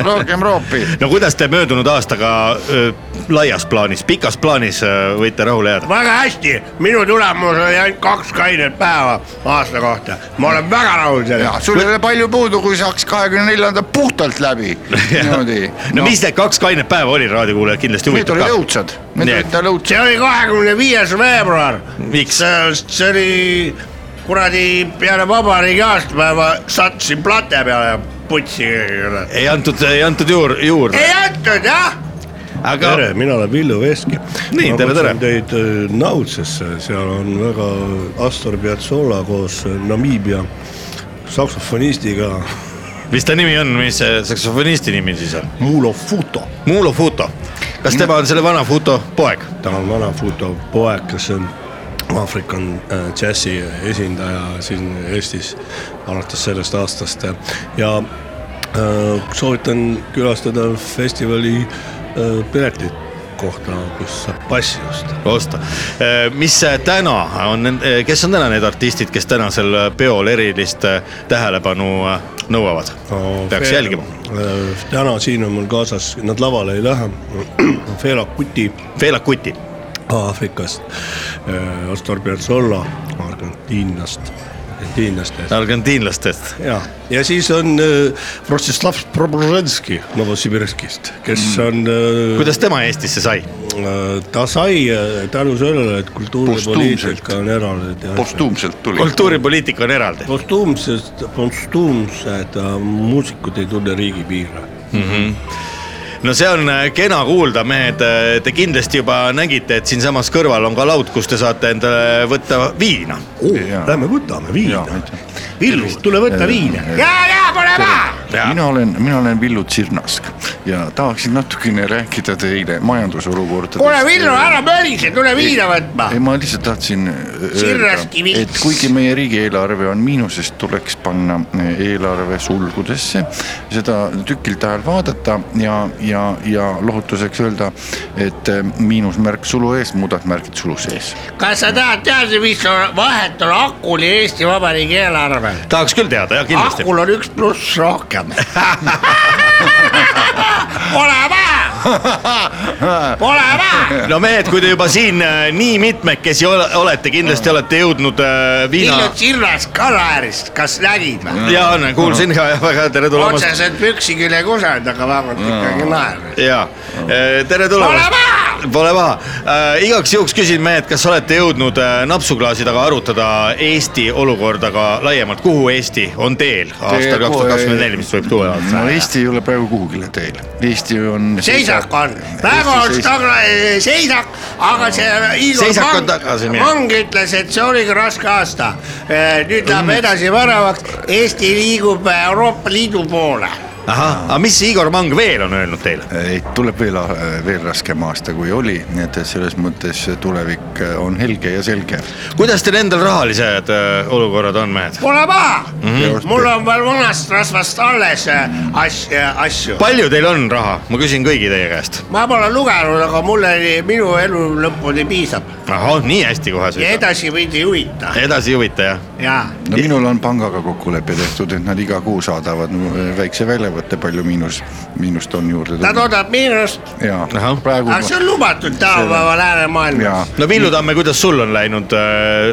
S4: rohkem roopi .
S2: [laughs] no kuidas te möödunud aastaga öö, laias plaanis , pikas plaanis öö, võite rahule jääda ?
S6: väga hästi , minu tulemus oli ainult kaks kainet päeva aasta kohta , ma olen väga rahul sellega
S4: ja sul ei ole palju puudu , kui saaks kahekümne neljanda puhtalt
S6: [laughs]
S4: läbi . niimoodi .
S2: [laughs] no mis need kaks kainet päeva oli , raadiokuulajad kindlasti
S4: need
S2: huvitab
S4: olid
S2: ka .
S4: õudsad , need
S2: Nii.
S4: olid tal õudsad .
S6: see oli kahekümne viies veebruar .
S2: Miks? ?
S6: see oli kuradi peale vabariigi aastapäeva sattusin plate peale putsi kõigile .
S2: ei antud , ei antud juur- , juurde ,
S6: ei antud jah .
S2: aga
S6: mina olen Villu Veski .
S2: Nii, tere, tere.
S6: Teid äh, Naudsesse , seal on väga Astor Piazzolla koos Namiibia saksofonistiga
S2: mis ta nimi on , mis see saksofonisti nimi siis on ?
S6: Mulo Futo .
S2: Muulo Futo . kas tema on selle vana Futo poeg ?
S6: ta on vana Futo poeg , kes on Aafrika on äh, džässi esindaja siin Eestis alates sellest aastast ja äh, soovitan külastada festivali äh, piletit kohta , kus saab passi osta .
S2: osta . mis see täna on , kes on täna need artistid , kes tänasel peol erilist äh, tähelepanu äh, nõuavad
S6: No, ?
S2: peaks
S6: Fe-
S2: jälgima .
S6: äh, täna siin on mul kaasas , nad lavale ei lähe , [clears throat] Fela Kuti
S2: Fela Kuti
S6: Aafrikast , Astor Piazzolla Argentiinast , Argentiinast ja
S2: argentiinlastest .
S6: ja , ja siis on äh, Rostislav Probruženski Novosibirskist , kes mm. on äh,
S2: kuidas tema Eestisse sai ?
S6: äh, ta sai äh, tänu sellele , et kultuuripoliitika on eraldi tehtud .
S4: postuumselt tuli .
S2: kultuuripoliitika on eraldi .
S6: postuumsed , postuumsed äh, muusikud ei tunne riigipiire .
S2: no see on äh, kena kuulda , mehed , te kindlasti juba nägite , et siinsamas kõrval on ka laud , kus te saate endale võtta viina .
S6: Lähme võtame viina
S4: Jaa, aitäh. .
S6: Villu , tule võta viina . ja , ja , pane maha .
S4: mina olen , mina olen Villu Tsirnask ja tahaksin natukene rääkida teile majandusolukordadest .
S6: kuule Villu , ära mölise , tule viina võtma .
S4: ei , ma lihtsalt tahtsin äh, öelda
S6: Sirraskivi. ,
S4: et kuigi meie riigieelarve on miinuses , tuleks panna äh, eelarve sulgudesse , seda tükilt ajal vaadata ja , ja , ja lohutuseks öelda , et äh, miinusmärk sulu ees , muudad märgid sulu sees .
S6: kas sa tahad teada , mis on- vahet on akul ja Eesti Vabariigi eelarvel ?
S2: tahaks küll teada , jah , kindlasti .
S6: akul on üks pluss rohkem . ole maha , [laughs] ole maha .
S2: no mehed , kui te juba siin äh, nii mitmekesi ole- olete , kindlasti olete jõudnud äh, viina
S6: Villu Tsirras Kalaärist , kas nägid või ?
S2: ja on , kuulsin ja ja väga tere tulemast .
S6: otseselt püksi külge kusagil , aga vähemalt ikkagi naerad .
S2: ja Äh, tere
S6: ole
S2: tulemast .
S6: maha .
S2: Pole paha äh, , igaks juhuks küsin mehed , kas olete jõudnud äh, napsuklaasi taga arutada Eesti olukorda ka laiemalt , kuhu Eesti on teel aastal kaks tuhat kakskümmend neli , mis võib tuua
S4: no
S2: aasta .
S4: Eesti ei ole praegu kuhugile teel , Eesti on .
S6: seisak on , väga on stagna- , seisak , aga see Igor
S2: Seisak on
S6: Mang-
S2: tagasi, jah.
S6: Mang ütles , et see oligi raske aasta . nüüd läheb edasi väravaks , Eesti liigub Euroopa Liidu poole .
S2: ahah , aga mis Igor Mang veel on öelnud teile ?
S4: ei , tuleb veel , veel raskem aasta , kui oli , nii et et selles mõttes tulevik äh, on helge ja selge .
S2: kuidas teil endal rahalised äh, olukorrad on , mehed ?
S6: Pole paha , mul on veel vanast rasvast alles äh, as- , asju .
S2: palju teil on raha , ma küsin kõigi teie käest .
S6: ma pole lugenud , aga mulle , minu elu lõpuni piisab
S2: ahah , nii hästi kohe
S6: ja
S2: sõidab .
S6: edasi mind ei huvita
S2: edasi ei huvita jah ?
S6: ja
S4: no minul on pangaga kokkulepe tehtud , et nad iga kuu saadavad mu- väikse väljavõtte , palju miinus , miinust on juurde
S6: ta toodab miinust ,
S4: jaa
S2: Ahah. ,
S4: praegu
S6: aga see on lubatud tänapäeva
S4: jaa
S6: läänemaailmas .
S2: no Villu Tamme , kuidas sul on läinud ,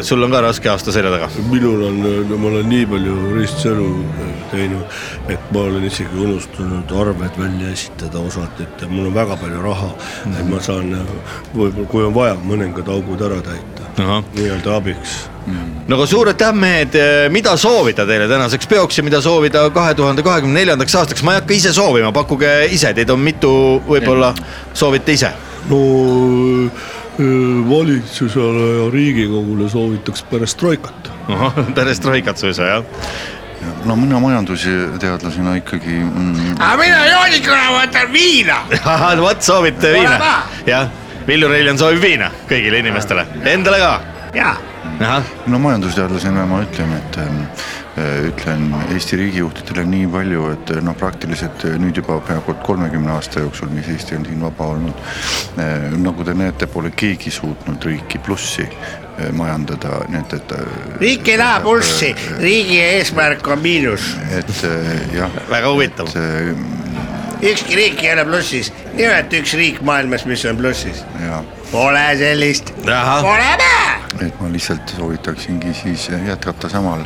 S2: sul on ka raske aasta selja taga ?
S3: minul on , no ma olen nii palju ristsõnu äh, teinud , et ma olen isegi unustanud arved välja esitada osalt , et mul on väga palju raha , et ma saan äh, võib-olla , kui on vaja , mõningad augud ära täita
S2: Ahah. ,
S3: nii-öelda abiks .
S2: no aga suur aitäh , mehed , mida soovida teile tänaseks peoks ja mida soovida kahe tuhande kahekümne neljandaks aastaks , ma ei hakka ise soovima , pakkuge ise , teid on mitu , võib-olla soovite ise .
S3: no
S7: äh,
S3: öö, valitsusele ja Riigikogule soovitaks perestroikat .
S2: [laughs] pärast roikat suisa jah .
S4: no mina majandusteadlasena ikkagi mm,
S6: aga mina joonikuna võtan viina
S2: vot soovite
S6: Ole
S2: viina
S6: hea! ,
S2: jah . Villu Reiljan soovib viina kõigile inimestele , endale ka .
S6: ja
S2: ahah ,
S4: no majandusteadlasena ma ütlen , et ähm, äh, ütlen Eesti riigijuhtidele nii palju , et äh, noh , praktiliselt äh, nüüd juba peaaegu kolmekümne aasta jooksul , mis Eesti on siin vaba olnud äh, , nagu te näete , pole keegi suutnud riiki plussi äh, majandada , nii et , et äh,
S6: riik ei lähe pulssi , riigi eesmärk on miinus ,
S4: et äh, jah ,
S2: väga huvitav .
S4: et äh,
S6: ükski riik ei ole plussis , nimeta üks riik maailmas , mis on plussis .
S4: ja
S6: Pole sellist ,
S2: ahah ,
S6: pole näha .
S4: et ma lihtsalt soovitaksingi siis jätkata samal ,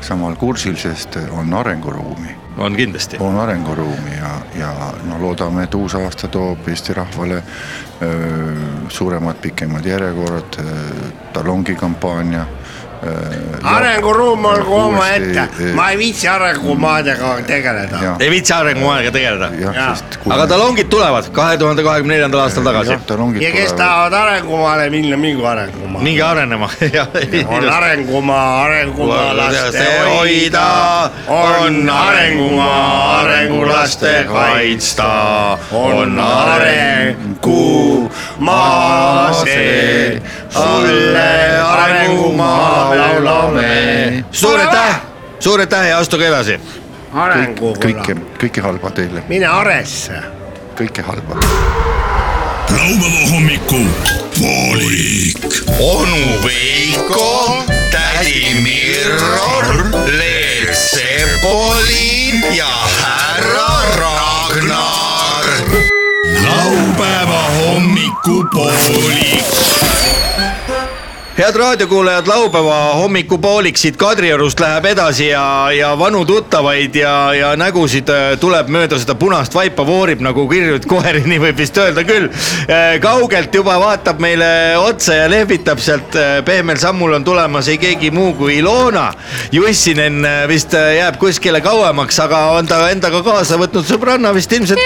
S4: samal kursil , sest on arenguruumi ,
S2: on kindlasti .
S4: on arenguruumi ja , ja no loodame , et uus aasta toob Eesti rahvale öö, suuremad , pikemad järjekorrad , talongikampaania .
S6: arenguruum olgu omaette , ma ei viitsi arengumaadega tegeleda .
S4: jah ,
S2: ei viitsi arengumajaga tegeleda .
S4: jah , sest .
S2: aga talongid tulevad kahe tuhande kahekümne neljandal aastal tagasi .
S6: ja kes tahavad arengumaale minna , mingu arengumaale .
S2: minge arenema [laughs]
S6: on
S2: ja
S6: arengumaa , arengumaa laste hoida , on arengumaa , arengulaste kaitsta , on arengumaa see , sulle arengumaa laulame .
S2: suur aitäh , suur aitäh ja astuge edasi .
S4: kõike , kõike halba teile ,
S6: mine aresse
S4: kõike halba .
S8: laupäeva hommiku poolik . onu Veiko , tädi Mirro , Leet Sepolin ja härra Ragnar . laupäeva hommiku poolik .
S2: head raadiokuulajad , laupäeva hommikupoolik siit Kadriorust läheb edasi ja , ja vanu tuttavaid ja , ja nägusid äh, tuleb mööda seda punast vaipa voorib nagu kirjuid koeri , [laughs] nii võib vist öelda küll . kaugelt juba vaatab meile otsa ja lehvitab sealt , pehmel sammul on tulemas ei keegi muu kui Ilona . Jussinen äh, vist äh, jääb kuskile kauemaks , aga on ta endaga kaasa võtnud sõbranna vist ilmselt .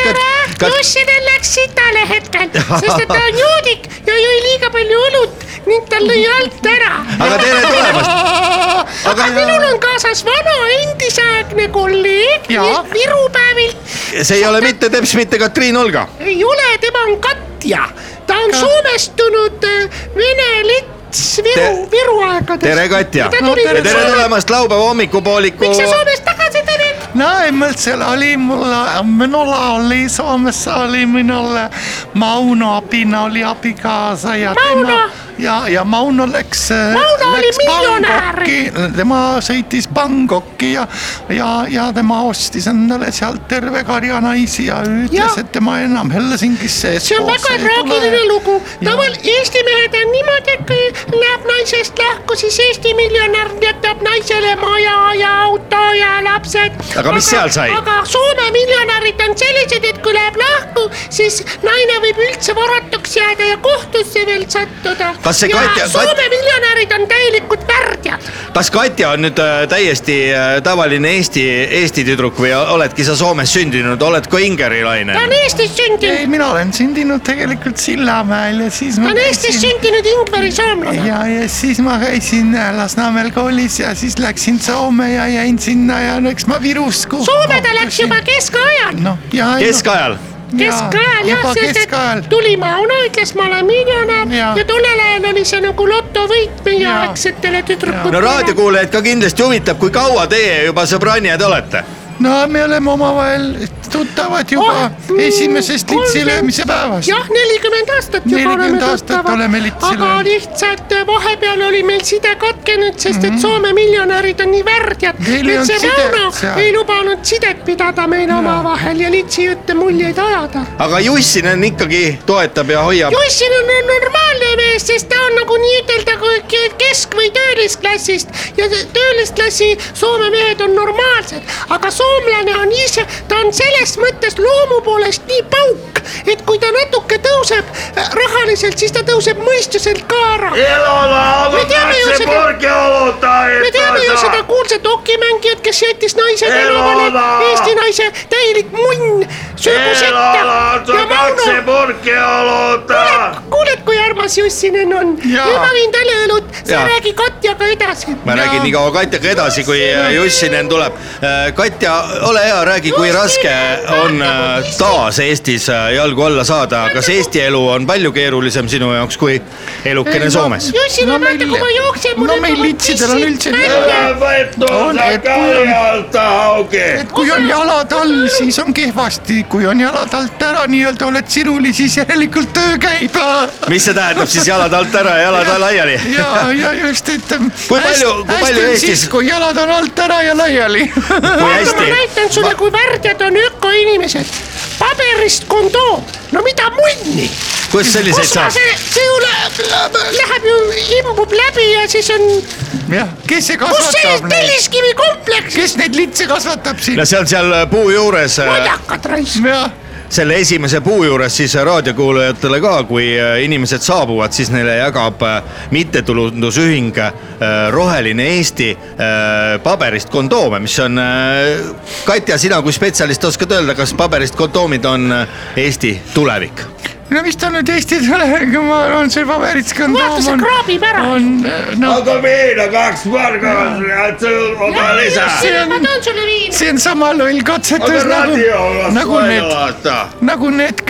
S9: Jussinen läks sitale hetkel ,
S2: [laughs]
S9: sest et ta on joodik ja jõi liiga palju õlut ning tal lõi alt ära . [laughs]
S2: aga tere tulemast .
S9: aga minul on kaasas vana endise algne kolleeg
S5: Jaa.
S9: Viru päevilt
S2: see ei ole mitte teps , mitte Katriin Olga .
S9: ei ole , tema on Katja . ta on soomestunud äh, vene lits Viru
S2: Te- ,
S9: Viru aegadest .
S2: tere , Katja . ja tere tulemast laupäeva hommikupooliku .
S9: miks sa Soomest tagasi tulid ?
S4: Näin, siellä oli mulla, minulla oli, Suomessa oli minulle Mauno apina, oli apikaasa ja
S9: Mauno?
S4: tema, ja, ja Mauno läks, äh,
S9: Mauno oli
S4: läks
S9: miljonääri.
S4: Bangkokkiin. Tema seitis Bangkokkiin ja, ja, ja tema ostis endale sealt terve karja naisi ja ütles,
S9: Joo.
S4: että tema enam Helsingissä
S9: see on
S4: Espoossa
S9: väga
S4: ei
S9: traagiline
S4: tule.
S9: lugu . taval- , Eesti mehed on niimoodi , et kui läheb naisest lahku , siis Eesti miljonär jätab naisele maja ja auto ja lapsed .
S2: Aga mis seal sai?
S9: aga Soome miljonärid on sellised , et kui läheb lahku , siis naine võib üldse varatuks jääda ja kohtusse veel sattuda .
S2: Kas see Katja-
S9: ja Soome
S2: Kat-
S9: miljonärid on täielikud värdjad .
S2: kas Katja on nüüd äh, täiesti äh, tavaline Eesti , Eesti tüdruk või oledki sa Soomes sündinud , oled ka ingerilaine
S9: ta on ? Eestis
S4: Ei,
S9: sündinud ,
S4: minä olen syntynyt tegelikult Sillamäellä. Siis mä
S9: ta on Eestis
S4: käisin-
S9: sündinud Ingvari soomlane .
S4: ja , ja siis ma käisin Lasnamäel koolis ja siis läksin Soome ja jäin sinna ja läks ma Virus .
S9: Soome ta läks juba . keskajal .
S4: noh , ja .
S2: keskajal .
S9: keskajal jah ,
S4: juba
S9: sest et
S4: keskajal .
S9: tuli Mauno , ütles ma olen miljonär ja.
S4: Jaa.
S9: ja tollel ajal oli see nagu lotovõit meie
S4: Jaa.
S9: aegsetele tüdrukutele .
S2: no raadiokuulajaid ka kindlasti huvitab , kui kaua teie juba sõbrannijad olete ?
S4: no me oleme omavahel tuttavad juba
S9: mm,
S4: oh, esimesest litsi löömise päevast .
S9: jah , nelikümmend aastat juba
S4: 40
S9: oleme
S4: aastat oleme
S9: tuttavad ,
S4: litsi
S9: aga
S4: löönud.
S9: lihtsalt äh, vahepeal oli meil side katkenud , sest et Soome miljonärid on nii värdjad ,
S4: Mhm. Neil ei
S9: et see
S4: olnud sidet
S9: Mauno
S4: seal.
S9: ei lubanud sidet pidada meil omavahel ja litsijutte muljeid ajada .
S2: aga Jussinen ikkagi toetab ja hoiab .
S9: Jussin on on normaalne mees , sest ta on nagu nii-ütelda kui ke- kesk- või töölisklassist ja t- töölisklassi Soome mehed on normaalsed , aga soomlane on ise , ta on selles mõttes loomu poolest nii pauk , et kui ta natuke tõuseb äh, rahaliselt , siis ta tõuseb mõistuselt ka ära . me teame ju seda , me teame ju seda kuulsat okimängijat , kes jättis naise tänavale , Eesti naise täielik munn sööbusetta ja Mauno kuule , kuuled , kui armas Jussinen on ?
S4: Jaa.
S9: nüüd ma viin talle õlut , sa
S2: Jaa.
S9: räägi Katjaga edasi .
S2: ma räägin nii kaua Katjaga edasi , kui äh, Jussinen tuleb . Katja , ole hea , räägi , kui raske on äh, taas Eestis äh, jalgu alla saada , kas Eesti elu on palju keerulisem sinu jaoks kui elukene Soomes ?
S9: Jussinen , vaata kui ma jooksen , mul
S4: no meil litsidel on üldse
S9: välja .
S4: on , et kui on , et kui on jalad all , siis on kehvasti , kui on jalad alt ära , nii-öelda oled siruli , siis järelikult töö käib .
S2: mis see tähendab siis jalad alt ära ja jalad laiali ?
S4: ja , ja just , et . ähm,
S2: Kui palju- kui palju Eestis-
S4: kui jalad on alt ära ja laiali .
S2: kui
S9: ma
S2: hästi ,
S9: näitan sulle , kui värdjad on ökoinimesed . paberist kondoom , no mida munni .
S2: kus selliseid
S9: osta
S2: saab ?
S9: see , see ju lä- läheb ju , imbub läbi ja siis on ,
S4: jah , kes see
S9: kus see
S4: kasvatab neid ,
S9: telliskivi kompleks ,
S4: kes neid litse kasvatab siin
S2: no ? see on seal äh, puu juures ,
S9: madakad raisk .
S4: jah ,
S2: selle esimese puu juures siis äh, raadiokuulajatele ka , kui äh, inimesed saabuvad , siis neile jagab äh, mittetulundusühing äh, Roheline Eesti äh, paberist kondoome , mis on , Katja , sina kui spetsialist oskad öelda , kas paberist kondoomid on äh, Eesti tulevik ?
S4: no mis ta nüüd Eestis ei ole , kui ma arvan , see paberis
S9: Vaata,
S4: kondoom
S9: see
S4: on ,
S9: kraabib ära.
S4: on noh ,
S7: aga meile kaks marka , oda lisa .
S4: See on-
S9: ma toon sulle viina .
S4: see on sama loll katsetus nagu , nagu need , nagu need ,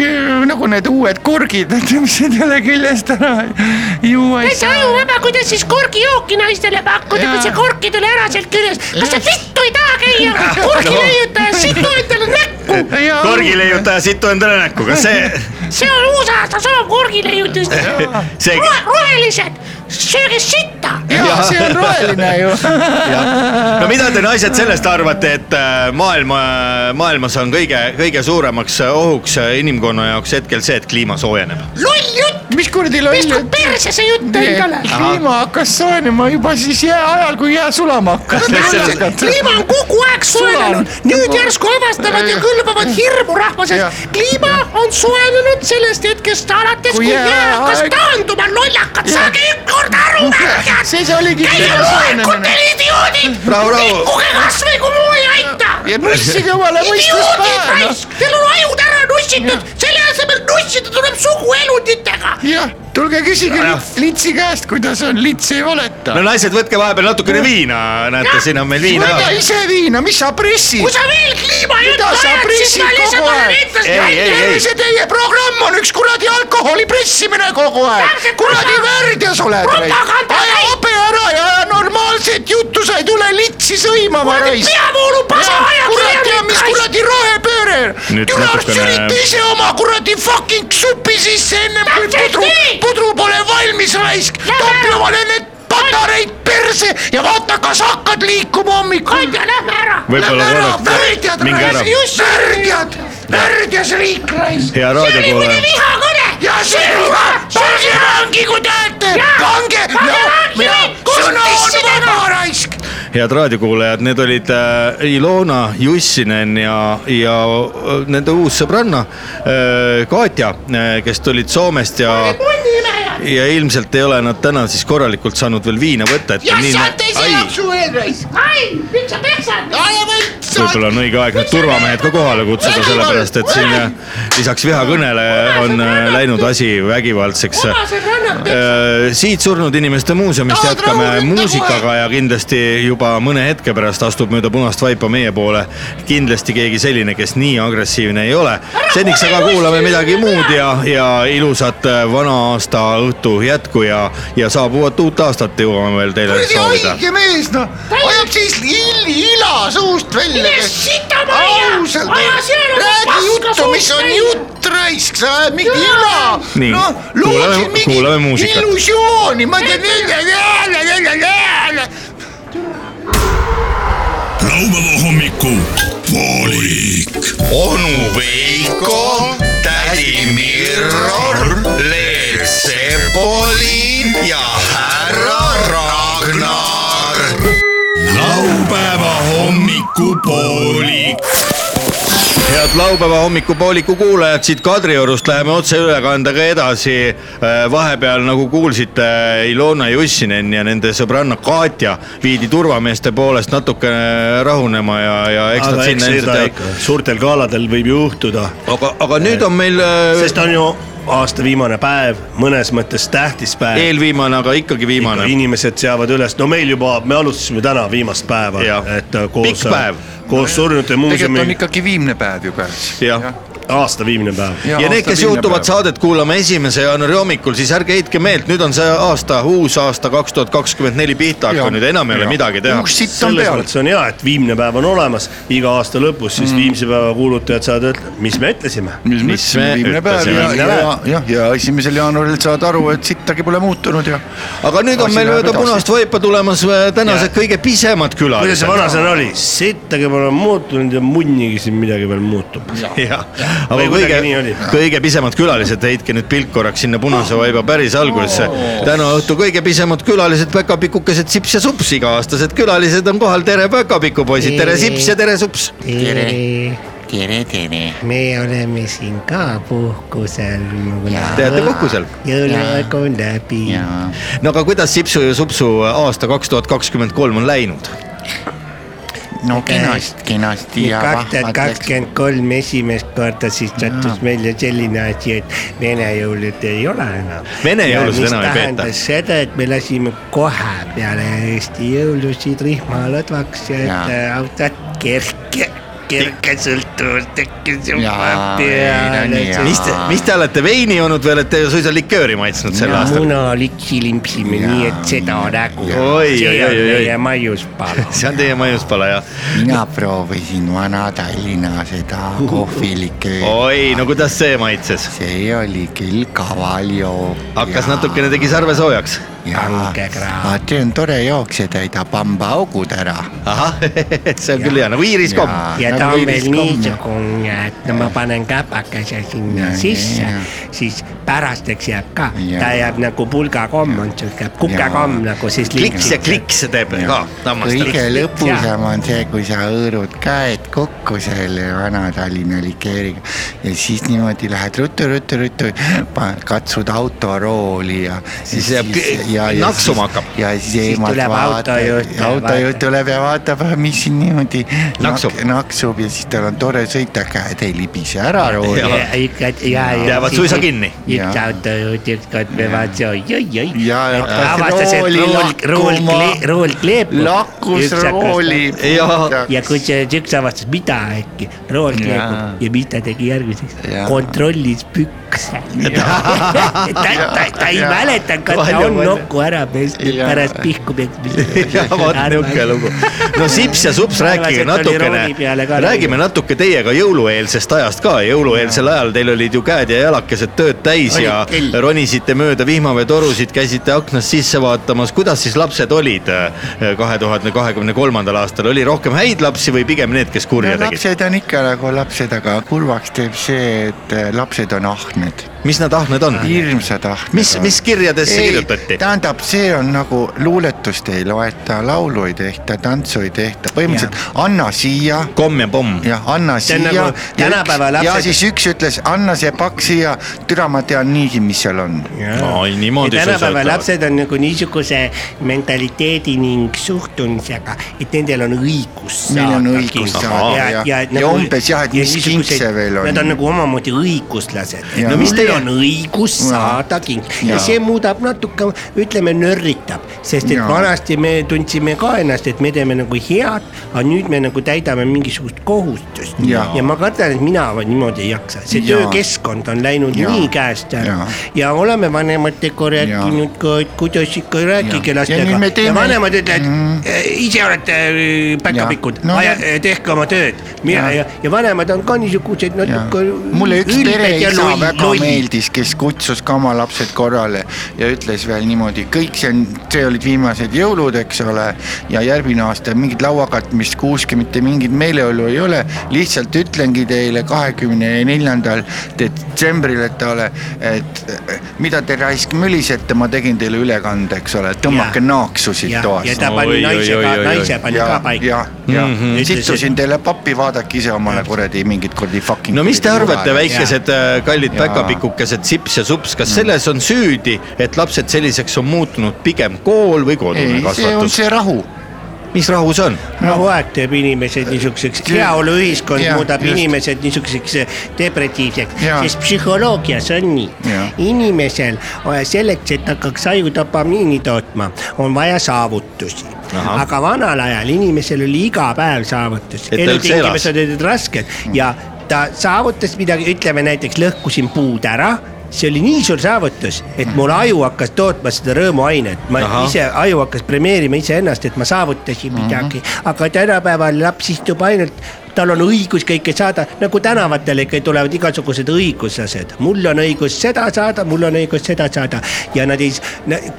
S4: nagu need uued korgid , [laughs] et mis need jälle küljest ära ei- juua ei
S9: täitsa
S4: saa .
S9: ajuvaba , kuidas siis korgijooki naistele pakkuda , kui
S4: Jaa.
S9: see kork ei tule ära sealt küljest . kas sa vittu ei taha käia korgi leiutaja situ endale näkku ?
S2: korgileiutaja situ endale näkku , kas see ,
S9: see on uusaasta soov korgi leiutist .
S2: see ,
S9: rohelised , sööge sitta .
S4: jaa , see on roheline ju . [laughs]
S2: no mida te naised sellest arvate , et äh, maailma , maailmas on kõige , kõige suuremaks äh, ohuks äh, inimkonna jaoks hetkel see , et kliima soojeneb ?
S9: loll jutt ,
S4: mis kuradi loll
S9: pisku . perse see jutt endale .
S4: kliima hakkas soojenema juba siis jää ajal , kui jää sulama hakkas .
S9: kliima on kogu aeg soojenenud , nüüd järsku avastavad ja kõlbavad hirmu rahva
S4: Jah.
S9: sees . kliima on soojenenud sellest hetkest alates ,
S4: Kui
S9: kui
S4: jää
S9: jää hakkas
S4: aeg-
S9: taanduma , lollakad , saage ükskord aru , märkad .
S4: siis oligi
S9: käige
S4: kliima soojenemine
S9: loengutel , idioodid .
S2: Rahu, rahu.
S9: nihkuge kasvõi , kui muu ei aita .
S4: ja nussige omale mõistus
S9: idioodid
S4: pähe , noh .
S9: raisk , teil on ajud ära nussitud , selle asemel otsida tuleb suguelunditega .
S4: jah , tulge küsige Lits- Litsi käest , kuidas on , Lits ei valeta
S2: no . naised , võtke vahepeal natukene viina , näete , siin on meil viina
S4: võta
S2: ka .
S4: ise viina , mis sa pressid
S9: kui ? sa veel kliimajuttu
S4: mida sa
S9: ajad , siis
S4: pressid
S9: ma lihtsalt
S4: kogu
S9: olen
S4: aeg ?
S9: eetlas
S2: Ei, ei, ei.
S4: tervise teie programm on üks kuradi alkoholi pressimine kogu aeg
S9: Täpselt, .
S4: kuradi
S9: kus sa-
S4: värdjas oled .
S9: Propaganda
S4: aja
S9: käib.
S4: habe ära ja aja normaalset juttu , sa ei tule litsi sõimama , raisk .
S9: peavoolu pasa
S4: kurat teab , mis
S9: ajakirjanik .
S4: kuradi rohepööre .
S2: Nüüd
S4: türa
S2: natukene-
S4: sülita ise oma kuradi fucking supi sisse ennem kui
S9: Täpselt
S4: pudru
S9: nii! ,
S4: pudru pole valmis raisk .
S9: Lähme
S4: tappi
S9: ära!
S4: omale need patareid perse ja vaata , kas hakkad liikuma hommikul .
S9: Kandja , lähme ära .
S2: Võib-olla korraks-
S4: värdjad ,
S2: minge ära.
S4: värdjad , värdjas riik raisk .
S2: hea
S9: see oli
S2: raadiokuulaja
S9: mõni . vihakõne .
S4: ja seega pange vangi , kui tahate ,
S9: Jaa,
S4: pange ,
S9: pange vangi, kus
S4: sõna on
S9: pissidega?
S4: vaba raisk .
S2: head raadiokuulajad , need olid äh, Ilona Jussinen ja , ja äh, nende uus sõbranna äh, Katja , kes tulid Soomest ja ,
S9: punnimehed .
S2: ja ilmselt ei ole nad täna siis korralikult saanud veel viina võtta , et .
S9: ai , nüüd sa peksad .
S2: võib-olla on õige aeg need turvamehed ka kohale kutsuda , sellepärast et siin äh, lisaks vihakõnele on äh, läinud asi vägivaldseks . siit surnud inimeste muuseumist jätkame
S4: nagu
S2: muusikaga ja kindlasti juba mõne hetke pärast astub mööda punast vaipa meie poole kindlasti keegi selline , kes nii agressiivne ei ole . seniks aga kuulame midagi muud ja , ja ilusat äh, vana aasta õhtu jätku ja , ja saabuvat uut aastat jõuame veel teile
S4: kuradi
S2: soovida .
S4: haige mees noh , ajab siis illi ila suust välja .
S9: mine sita majja .
S4: ausalt ,
S9: aja sinna
S4: räägi juttu , mis on . jutt , raisk , sa ajad mingi ila .
S2: Nii,
S4: noh ,
S2: kuulame-
S4: lootsid
S2: kuulame
S4: mingit
S2: muusikat.
S4: illusiooni , ma tean .
S10: laupäeva hommiku poolik . onu Veiko , tädi Mirror , Leet Sepolin ja härra Ragnar . laupäeva hommikupoolik .
S2: head laupäeva hommikupooliku kuulajad , siit Kadriorust läheme otseülekandega edasi . vahepeal , nagu kuulsite , Ilona Jussinen ja nende sõbranna Katja viidi turvameeste poolest natukene rahunema ja , ja eks nad
S3: aga eks
S2: sinna
S3: seda
S2: ilmselt
S3: ikka , suurtel galadel võib juhtuda ,
S2: aga , aga nüüd on meil äh,
S3: sest on ju aasta viimane päev , mõnes mõttes tähtis päev .
S2: eelviimane , aga ikkagi viimane .
S3: inimesed seavad üles , no meil juba , me alustasime täna viimast päeva
S2: Jah. ,
S3: et äh, koos
S2: Pikk päev. ,
S3: koos surnute
S11: tegelikult on
S3: muuseumi
S11: ikkagi viimne päev ju käes .
S2: jah
S3: aasta viimne päev .
S2: ja need , kes juhtuvad saadet kuulama esimese jaanuari hommikul , siis ärge heitke meelt , nüüd on see aasta , uus aasta kaks tuhat kakskümmend neli pihta hakanud , enam ei ole midagi teha .
S11: uus sitt on
S3: selles
S11: peal .
S3: mõttes on hea , et viimne päev on olemas , iga aasta lõpus siis viimse päeva kuulutajad saavad ütlema , mis me ütlesime .
S2: Mis me
S11: viimne päev ja ,
S2: ütlesime?
S11: ja , jah , ja esimesel jaanuaril saad aru , et sittagi pole muutunud ja .
S2: aga nüüd on
S11: Asi
S2: meil
S11: läheb
S2: mööda
S11: edasi.
S2: punast vaipa tulemas äh, tänased kõige pisemad
S3: kuidas see
S2: külalised .
S3: vanasõna oli , sittagi pole muutunud ja munnigi siin midagi veel muutub .
S2: jah , aga
S3: Või kuidagi
S2: kõige
S3: nii oli. ,
S2: kõige pisemad külalised , heitke nüüd pilk korraks sinna punase vaiba päris algusesse . täna õhtu kõige pisemad külalised , päkapikukesed Sips ja Sups , iga-aastased külalised on kohal , tere päkapikupoisid , tere Sips ja tere Sups .
S6: tere , tere , tere . me oleme siin ka puhkusel .
S2: Te olete puhkusel?
S6: jõuluaeg on läbi .
S2: no aga kuidas Sipsu ja Supsu aasta kaks tuhat kakskümmend kolm on läinud ?
S11: no
S6: kenasti , kenasti ja
S11: Kak-
S6: vah- .
S11: vahvad läks.
S6: läks. kaks tuhat
S11: kakskümmend
S6: kakskümmend kolm esimest korda siis sattus meile selline asi , et vene jõulud ei ole enam .
S2: Vene jõulusid enam ei peeta.
S6: tähendas seda , et me lasime kohe peale Eesti jõulusid rihma lõdvaks ,
S11: Jaa.
S6: et äh, autod kerke , kerke sõltuvus tekkis juba
S11: Jaa, ei, no
S6: peale
S11: nii, . jaa.
S2: mis te , mis te olete veini joonud veel , et te suisa likööri maitsnud sel aastal ?
S6: muna litsi limpsime , nii et seda nägu .
S2: Oi, oi,
S6: see on
S2: oi, oi, oi.
S6: meie maiuspala . [laughs]
S2: see on teie maiuspala jah ?
S6: mina proovisin Vana-Tallinna
S11: [laughs]
S6: seda kohvilikööri
S2: oi , no kuidas see maitses ?
S6: see oli küll kaval jook .
S2: hakkas natukene , tegi sarve soojaks .
S6: kange kraam . see on tore jook , see täidab hambaaugud ära .
S2: ahah , [laughs] see on küll hea , nagu Iiris komm .
S4: Ah,
S6: ja ta on veel niisugune , et no ma panen käpakese sinna ja, sisse , siis pärasteks jääb ka , ta jääb nagu pulgakomm on siuke kukekomm nagu siis .
S2: kliks ja . kliks teeb ka
S6: Kõige
S2: hammastele .
S6: lõbusam on see , kui sa hõõrud käed kokku selle Vana-Tallinna likeeriga ja siis niimoodi lähed ruttu-ruttu-ruttu , katsud autorooli ja
S2: siis jääb kli-
S4: ja , ja
S2: Naksuma hakkab.
S4: ja siis
S3: Siis
S4: ema
S3: tuleb autojuht ja
S4: autojuht
S3: vaatab.
S4: tuleb ja vaatab , mis siin niimoodi
S2: Naksub.
S4: nak- naksub ja siis tal on tore sõita , käed ei libise ära
S2: Jah.
S4: rooli .
S2: Jäävad suisa kinni.
S3: üks
S4: Jaa.
S3: autojuht ükskord peavad oi-oi-oi .
S4: ja hakkas
S3: avastas , et
S4: rooli
S3: rool , rool
S4: lakkuma ,
S3: rool kleepub .
S4: lakkus rooli .
S2: Ja-
S3: ja kusjuures üks avastas , mida äkki , rool
S4: Jaa.
S3: kleepub ja mis ta tegi järgmiseks
S4: Jaa. ,
S3: kontrollis pükse . ta , ta , ta ei
S4: Jaa.
S3: mäleta , kas ta
S2: Palju,
S3: on
S2: palju.
S3: nokku ära pestud
S4: Jaa.
S3: pärast pihku [laughs]
S4: [laughs]
S3: pestud .
S2: ja vot niisugune lugu . no Sips ja Sups ,
S3: Arvasin,
S2: rääkige
S3: et oli rooli
S2: natukene
S3: peale ka ,
S2: räägime natuke teiega jõulueelsest ajast ka . jõulueelsel ajal teil olid ju käed ja jalakesed tööd täis ja ronisite mööda vihmaveetorusid , käisite aknast sisse vaatamas . kuidas siis lapsed olid eh, kahe tuhande kahekümne kolmandal aastal , oli rohkem häid lapsi või pigem need , kes kurja
S4: no
S2: tegid ?
S4: lapsed on ikka nagu lapsed , aga kurvaks teeb see , et äh, lapsed on ahned ,
S2: mis nad ahned on ?
S4: hirmsad ahned .
S2: Ah, mis , mis kirjadesse kirjutati ?
S4: tähendab , see on nagu luuletust ei loeta , laulu ei tehta , tantsu ei tehta , põhimõtteliselt anna siia
S2: komm ja pomm .
S4: jah , anna
S3: See on
S4: siia .
S3: nagu tänapäeva
S4: ja
S3: lapsed-
S4: siis üks ütles , anna see pakk siia , türa , ma tean niigi , mis seal on .
S2: ai , niimoodi sa
S3: tänapäeva
S2: saad .
S3: lapsed on nagu niisuguse mentaliteedi ning suhtumisega , et nendel on õigus
S4: Neil on
S3: saada
S4: õigus
S3: kinga.
S4: saada, jah. Ja umbes jah, et
S3: ja
S4: mis king see
S3: niisugused-
S4: veel on.
S3: Nad nagu on nagu omamoodi õiguslased .
S4: Ja.
S3: no mis
S4: Mul
S3: teil
S4: on-
S3: on õigus
S4: Ja.
S3: saada king ja
S4: Ja.
S3: see muudab natuke , ütleme nörritab , sest et
S4: Ja.
S3: vanasti me tundsime ka ennast , et me teeme nagu head , aga nüüd me nagu täidame mingisugust kohustust
S4: Ja.
S3: ja ma kardan , et mina niimoodi ei jaksa , see
S4: Ja.
S3: töökeskkond on läinud
S4: Ja.
S3: nii käest ära
S4: Ja.
S3: ja oleme vanematega rääkinud ka , et kuidas ikka rääkige
S4: Ja. Ja
S3: lastega
S4: nüüd
S3: ja,
S4: me
S3: ja
S4: teeme-
S3: vanemad ütlevad
S4: Mhm.
S3: mm. , ise olete äh, päkapikud
S4: Ja. No
S3: no, ,
S4: ja-
S3: tehke oma tööd . ja,
S4: Ja.
S3: ja , ja vanemad on ka niisugused nagu natuke .
S4: mulle üks pereisa väga meeldis , kes kutsus ka oma lapsed korrale ja ütles veel niimoodi , kõik see on , see olid viimased jõulud , eks ole , ja järgmine aasta mingit lauakatmist kuuski , mitte mingit meeleolu ei ole , lihtsalt ütlengi teile kahekümne neljandal detsembril , et ole , et eh, mida te raisk mölisete , ma tegin teile ülekande , eks ole , tõmmake
S3: Ja.
S4: naaksu siit
S3: ja , ja
S4: toast
S3: ta pani
S2: Oi, oi,
S3: naise
S2: oi,
S3: ka
S2: oi, , oi.
S3: naise pani
S4: ja
S3: ka , paika .
S4: ja , ja
S2: Mhm.
S3: Ütles, et-
S4: sitsusin teile pappi , vaadake ise omale kuradi mingit kuradi fucking .
S2: no mis te arvate , väikesed äh, kallid
S4: Jaa. Mm.
S2: päkapikukesed Sips ja Sups , kas selles on süüdi , et lapsed selliseks on muutunud pigem kool või kodune
S4: ei , see on
S2: kasvatus ?
S4: see rahu .
S2: mis rahu see on ?
S3: rahuaeg teeb inimesed niisuguseks , heaoluühiskond
S4: Noh. Jah,
S3: muudab
S4: just.
S3: inimesed niisuguseks eh, depressiivseks ,
S4: Jaa.
S3: sest psühholoogias on nii
S4: Jah. .
S3: inimesel vaja selleks , et hakkaks aju dopamiini tootma , on vaja saavutusi . aga vanal ajal inimesel oli iga päev saavutus ,
S2: Et ta üldse elas.
S3: elutingimused olid rasked ja ta saavutas midagi , ütleme näiteks lõhkusin puud ära see oli nii suur saavutus , et mul aju hakkas tootma seda rõõmuainet , ma
S2: Ahah.
S3: ise aju hakkas premeerima iseennast , et ma saavutasin
S4: Mhm.
S3: midagi , aga tänapäeval laps istub ainult , tal on õigus kõike saada , nagu tänavatele ikka tulevad igasugused õiguslased , mul on õigus seda saada , mul on õigus seda saada ja nad ei ,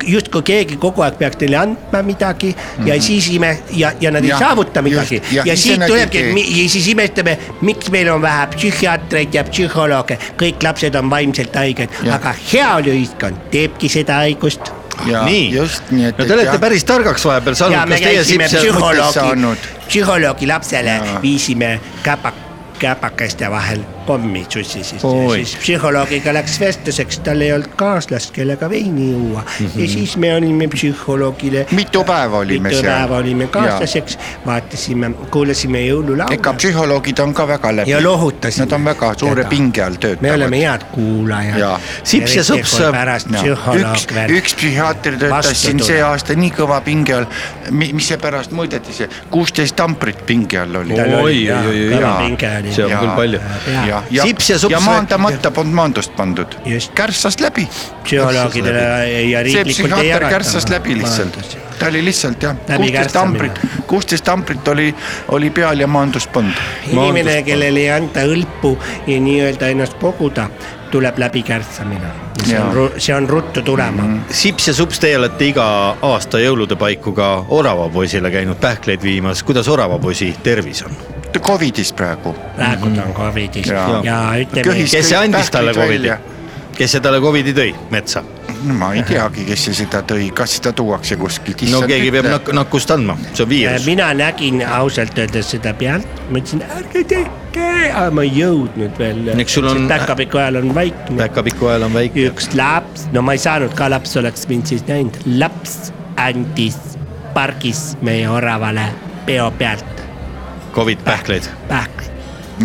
S3: justkui keegi kogu aeg peaks neile andma midagi ja siis ime- ja , ja nad ei
S4: Mhm. Jah,
S3: saavuta midagi
S4: just,
S3: ja,
S4: jah,
S3: ja
S4: ise
S3: siit
S4: nad ei
S3: tulebki ,
S4: tee.
S3: et mi- ja siis imestame , miks meil on vähe psühhiaatreid ja psühholooge , kõik lapsed on vaimselt haiged ,
S4: Jah.
S3: aga heaoluühiskond teebki seda haigust
S2: Ah, nii ,
S4: just nii , et .
S2: no te olete päris targaks vahepeal
S3: ja
S2: saanud ,
S3: me
S2: kas teie
S3: käisime
S2: Sips ja
S4: psühholoog- mõttes
S3: psühholoogi
S4: saanud. ,
S3: psühholoogi lapsele
S4: Jaa.
S3: viisime käpak , käpakeste vahel kommi sussisid ja
S2: Oi.
S3: siis psühholoogiga läks vestluseks , tal ei olnud kaaslast , kellega veini juua mm
S2: Mhm.
S3: -hmm. ja siis me olime psühholoogile .
S4: Mitu päeva olime
S3: mitu
S4: seal?
S3: päeva olime kaaslaseks , vaatasime , kuulasime jõululaule
S4: ega psühholoogid on ka väga läbi .
S3: ja lohutasime .
S4: Nad on väga suure pinge all töötavad .
S3: me oleme head kuulajad
S4: Jaa. .
S2: Sips ja sups.
S3: pärast
S4: üks
S3: psühholoog , veel
S4: üks psühhiaater töötas
S3: Vastu
S4: siin
S3: tuleb.
S4: see aasta nii kõva pinge all , mis seepärast mõõdeti , see kuusteist tamprit pinge all oli .
S3: Tal oli, jaa, kõva
S4: jaa.
S3: pinge oli.
S2: see on
S4: Jaa.
S2: küll palju .
S3: Jaa.
S4: ja , ja ,
S2: Sips ja sups
S4: ja
S2: rääk-
S4: maandamata polnud maandust pandud
S3: Just. ,
S4: kärssas läbi .
S3: psühholoogidele ja
S4: see
S3: riiklikult ei
S4: psühhiaater
S3: jagata .
S4: kärssas läbi lihtsalt , ta oli lihtsalt jah ,
S3: Läbi
S4: kuusteist
S3: kärssamine.
S4: tamprit , kuusteist tamprit oli , oli peal ja maandust polnud .
S3: inimene , kellele ei anta õlpu ja nii-öelda ennast koguda , tuleb läbi kärtsamine . see
S4: Jaa.
S3: on , see on ruttu tulema mm .
S2: Sips ja Sups , teie olete iga aasta jõulude paiku ka oravapoisile käinud pähkleid viimas , kuidas oravapoisi tervis on ?
S4: Covidis praegu .
S3: -hmm. praegu ta on Covidis ja,
S4: Jaa.
S3: ja ütleme ,
S4: Köhis-
S2: kes see andis talle
S4: Pähklid
S2: Covidi
S4: välja. ?
S2: kes see talle Covidi tõi metsa ?
S4: no ma ei teagi , kes see seda tõi , kas seda tuuakse kuskilt .
S2: no keegi peab nak- nakkust andma , see on viirus .
S3: mina nägin ausalt öeldes seda pealt , ma ütlesin , ärge tehke , aga ma ei jõudnud veel .
S2: Eks sul on-
S3: päkapiku ajal on vaikne .
S2: päkapiku ajal on väike .
S3: üks laps , no ma ei saanud ka , laps oleks mind siis näinud , laps andis pargis meie oravale peo pealt
S2: Covid pähkleid .
S3: pähkli ,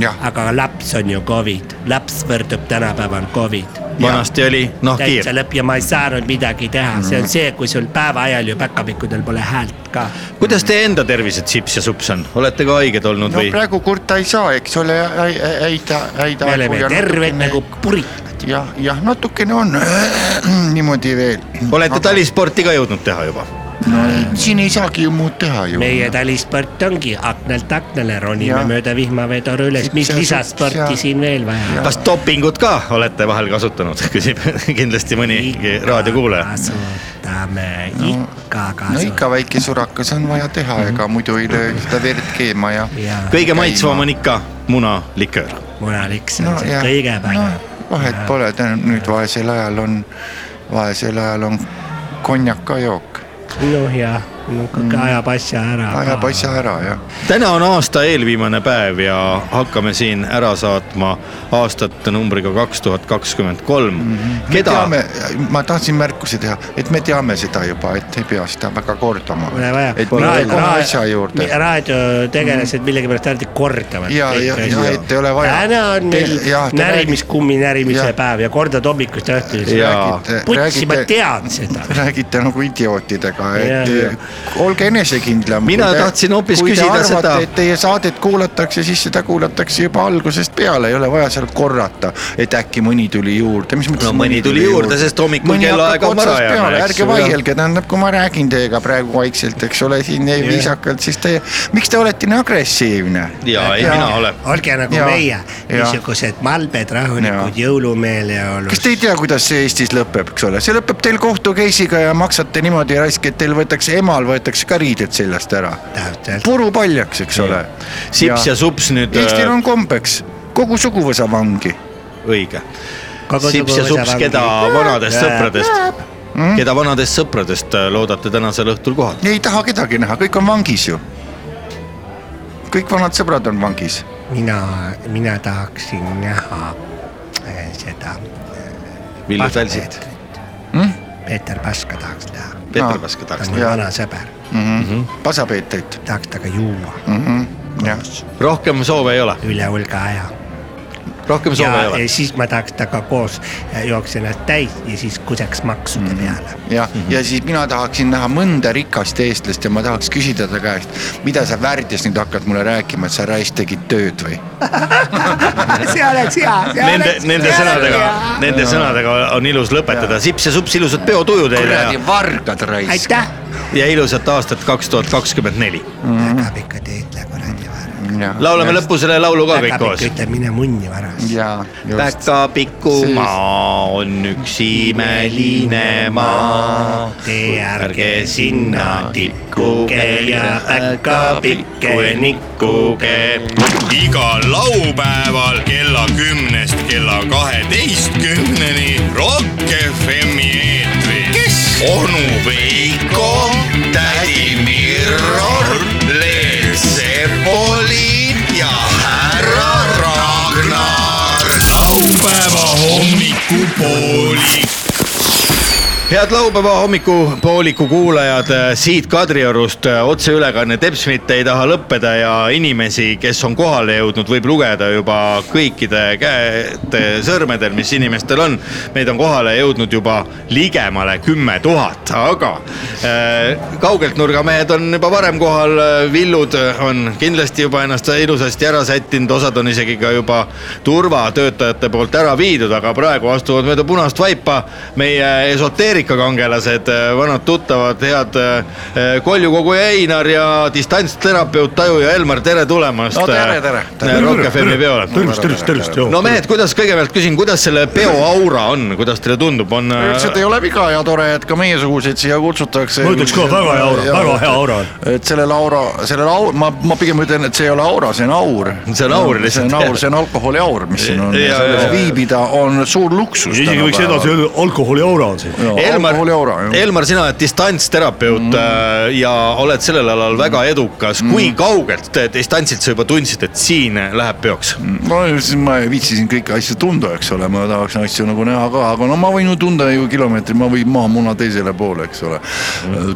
S4: jah ,
S3: aga laps on ju Covid , laps võrdub tänapäeval Covid .
S2: vanasti oli noh, nahkhiir
S3: täitsa . lõpp ja ma ei saanud midagi teha , see on see , kui sul päeva ajal ju päkapikkudel pole häält ka .
S2: kuidas teie enda tervised sips ja sups on , olete ka haiged olnud
S4: no
S2: või ?
S4: praegu kurta ei saa , eks ole , häida , häida .
S3: me oleme terved nagu purik ,
S4: jah , jah , natukene on [clears throat] niimoodi veel . Noh.
S2: olete ? talisporti ka jõudnud teha juba ?
S4: siin ei saagi ju muud teha ju .
S3: meie talisport ongi aknalt aknale ronime
S4: Jah.
S3: mööda vihmaveetoru üles , mis
S4: Sips ja sups
S3: lisasporti
S4: ja-
S3: siin veel vaja on ?
S2: kas dopingut ka olete vahel kasutanud , [laughs] küsib kindlasti mõni raadiokuulaja .
S3: kasutame , ikka
S4: no
S3: kasutame .
S4: ikka väike surakas on vaja teha ,
S3: Mhm.
S4: ega muidu ei löö seda verd keema ja .
S3: ja
S2: kõige
S4: Käima.
S2: maitsvam on ikka munaliköör .
S3: munaliks on no, see kõige parem no. .
S4: vahet pole , nüüd vaesel ajal on , vaesel ajal on konjak ka jook ,
S3: noh jah , no kõik ajab asja ära .
S4: Mm. ajab asja ära ja .
S2: täna on aasta eelviimane päev ja hakkame siin ära saatma aastat numbriga kaks tuhat kakskümmend kolm . keda ,
S4: Mhm. teame , ma tahtsin märkuse teha , et me teame seda juba , et ei pea seda väga kordama .
S3: Pole vaja
S4: et me oleme kohe asja juurde . Mm.
S3: raadiotegelased millegipärast alati kordavad .
S4: Ja, ja, ja, et ei ole vaja.
S3: täna on meil
S4: Te- jah, te räägite-
S3: närimiskummi närimise
S4: jah.
S3: päev ja kordad hommikust õhtuni
S2: Jaa. .
S3: putsi , ma tean seda .
S4: räägite nagu idiootidega , et
S3: Jaa.
S4: eh, olge enesekindlam .
S2: Mina tahtsin hoopis küsida
S4: kui te arvate,
S2: seda-
S4: et teie saadet kuulatakse , siis seda kuulatakse juba algusest peale , ei ole vaja seal korrata , et äkki mõni tuli juurde , mis mõttes
S2: No mõni tuli juurde, sest hommikul
S4: Mõni
S2: kellaaeg
S4: hakkab
S2: on
S4: otsast
S2: varajane,
S4: peale,
S2: eks ju,
S4: ärge
S2: jah.
S4: vaielge , tähendab , kui ma räägin teiega praegu vaikselt , eks ole , siin ei viisakalt , siis te , miks te olete nii agressiivne ?
S2: ja ei mina olen .
S3: olge nagu ja,
S4: Jaa,
S3: meie ,
S4: jaa.
S3: niisugused malbed , rahulikud ,
S4: Jaa.
S3: jõulumeeleolud .
S4: kas te ei tea , kuidas see Eestis lõpeb , eks ole , see lõpeb teil kohtu case'iga ja maksate niimoodi raisk , et teil võetakse , emal võetakse ka riided seljast ära .
S3: Täpselt.
S4: puru paljaks , eks ole .
S2: sips ja sups nüüd
S4: Eestil
S2: äh,
S4: on kombeks , kogu suguvõsa vangi .
S2: õige . sips ja sups , keda vanadest sõpradest , keda vanadest sõpradest äh, loodate tänasel õhtul kohata ?
S4: ei taha kedagi näha , kõik on vangis ju . kõik vanad sõbrad on vangis .
S3: mina , mina tahaksin näha eh, seda .
S2: Villu Talsit ,
S3: Peeter Paska tahaks näha ,
S2: Peeter
S4: Aa.
S2: Paska
S3: ta
S2: tahaks
S3: on mu
S4: Jaa.
S3: vana sõber ,
S4: pasapeetrit ,
S3: tahaks temaga juua
S4: Mhm. jah .
S2: näha. rohkem soove ei ole ,
S3: üle hulga aja .
S2: rohkem soove ei
S3: ja
S2: ole
S3: ja . siis ma tahaks temaga koos eh, jookse ennast täis ja siis kuseks maksude
S2: Mm.
S3: peale .
S4: jah ,
S2: Mhm.
S4: ja siis mina tahaksin näha mõnda rikast eestlast ja ma tahaks küsida ta käest , mida sa värdjas nüüd hakkad mulle rääkima , et sa raisk tegid tööd või ?
S3: see oleks hea , see
S2: Nende ,
S3: oleks
S2: nende sõnadega , nende sõnadega on ilus lõpetada , sips ja sups , ilusat peotuju teile ja-
S4: kuradi vargad raisk .
S3: aitäh ,
S2: ja ilusat aastat kaks tuhat kakskümmend neli . Mm-hmm.
S3: väga pikka teed läbi kuradi varem .
S2: laulame lõppu selle laulu ka kõik
S3: väga
S2: koos
S3: pikk , ütleb mine munni varas .
S4: ja , just .
S2: päkapiku maa on üks imeline maa .
S3: Tee ärge sinna tikkuge ja päkapikke nikkuge .
S6: igal laupäeval kella kümnest kella kaheteistkümneni Rock FM-i eetris . kes ? onu Veiko , tädi Mirror , Leel Sepolin ja härra Ragnar . laupäeva hommikupoolik .
S2: head laupäeva hommikupooliku kuulajad , siit Kadriorust äh, otseülekanne teps mitte ei taha lõppeda ja inimesi , kes on kohale jõudnud , võib lugeda juba kõikide käete sõrmedel , mis inimestel on . meid on kohale jõudnud juba ligemale kümme tuhat , aga äh, kaugelt nurgamehed on juba varem kohal , villud äh, on kindlasti juba ennast ilusasti ära sättinud , osad on isegi ka juba turvatöötajate poolt ära viidud , aga praegu astuvad mööda punast vaipa meie esoteerikakangelased , vanad tuttavad , head eh, koljukoguja Einar ja distantsterapeut Taju ja Elmar , tere tulemast
S4: No tere, tere.
S2: eh, Rock FM-i peole .
S7: tervist , tervist , tervist ,
S2: no mehed , kuidas kõigepealt küsin , kuidas selle peo aura on , kuidas teile tundub , on ? äh,
S4: üldiselt ei ole viga ja tore , et ka meiesuguseid siia kutsutakse .
S7: ma ütleks ka väga hea aura , väga hea . aura on .
S4: et sellel aura , sellel au- , ma , ma pigem ütlen , et see ei ole aura , see on aur .
S2: See on aur lihtsalt,
S4: see on
S2: jah.
S4: aur , see on alkoholi aur , mis siin on .
S2: Ja, ja, ja.
S4: viibida on suur luksus .
S7: isegi võiks edasi öelda , alkoholi aura on siin .
S4: No,
S2: Elmar
S4: alkoholiaura, , jah.
S2: Elmar , sina oled distantsterapeut mm. ja oled sellel alal väga edukas mm. . kui kaugelt te distantsilt sa juba tundsid , et siin läheb peoks ?
S4: no siis ma viitsisin kõiki asju tunda , eks ole , ma tahaks asju nagu näha ka , aga no ma võin ju tunda ju kilomeetri , ma võin maamuna teisele poole , eks ole ,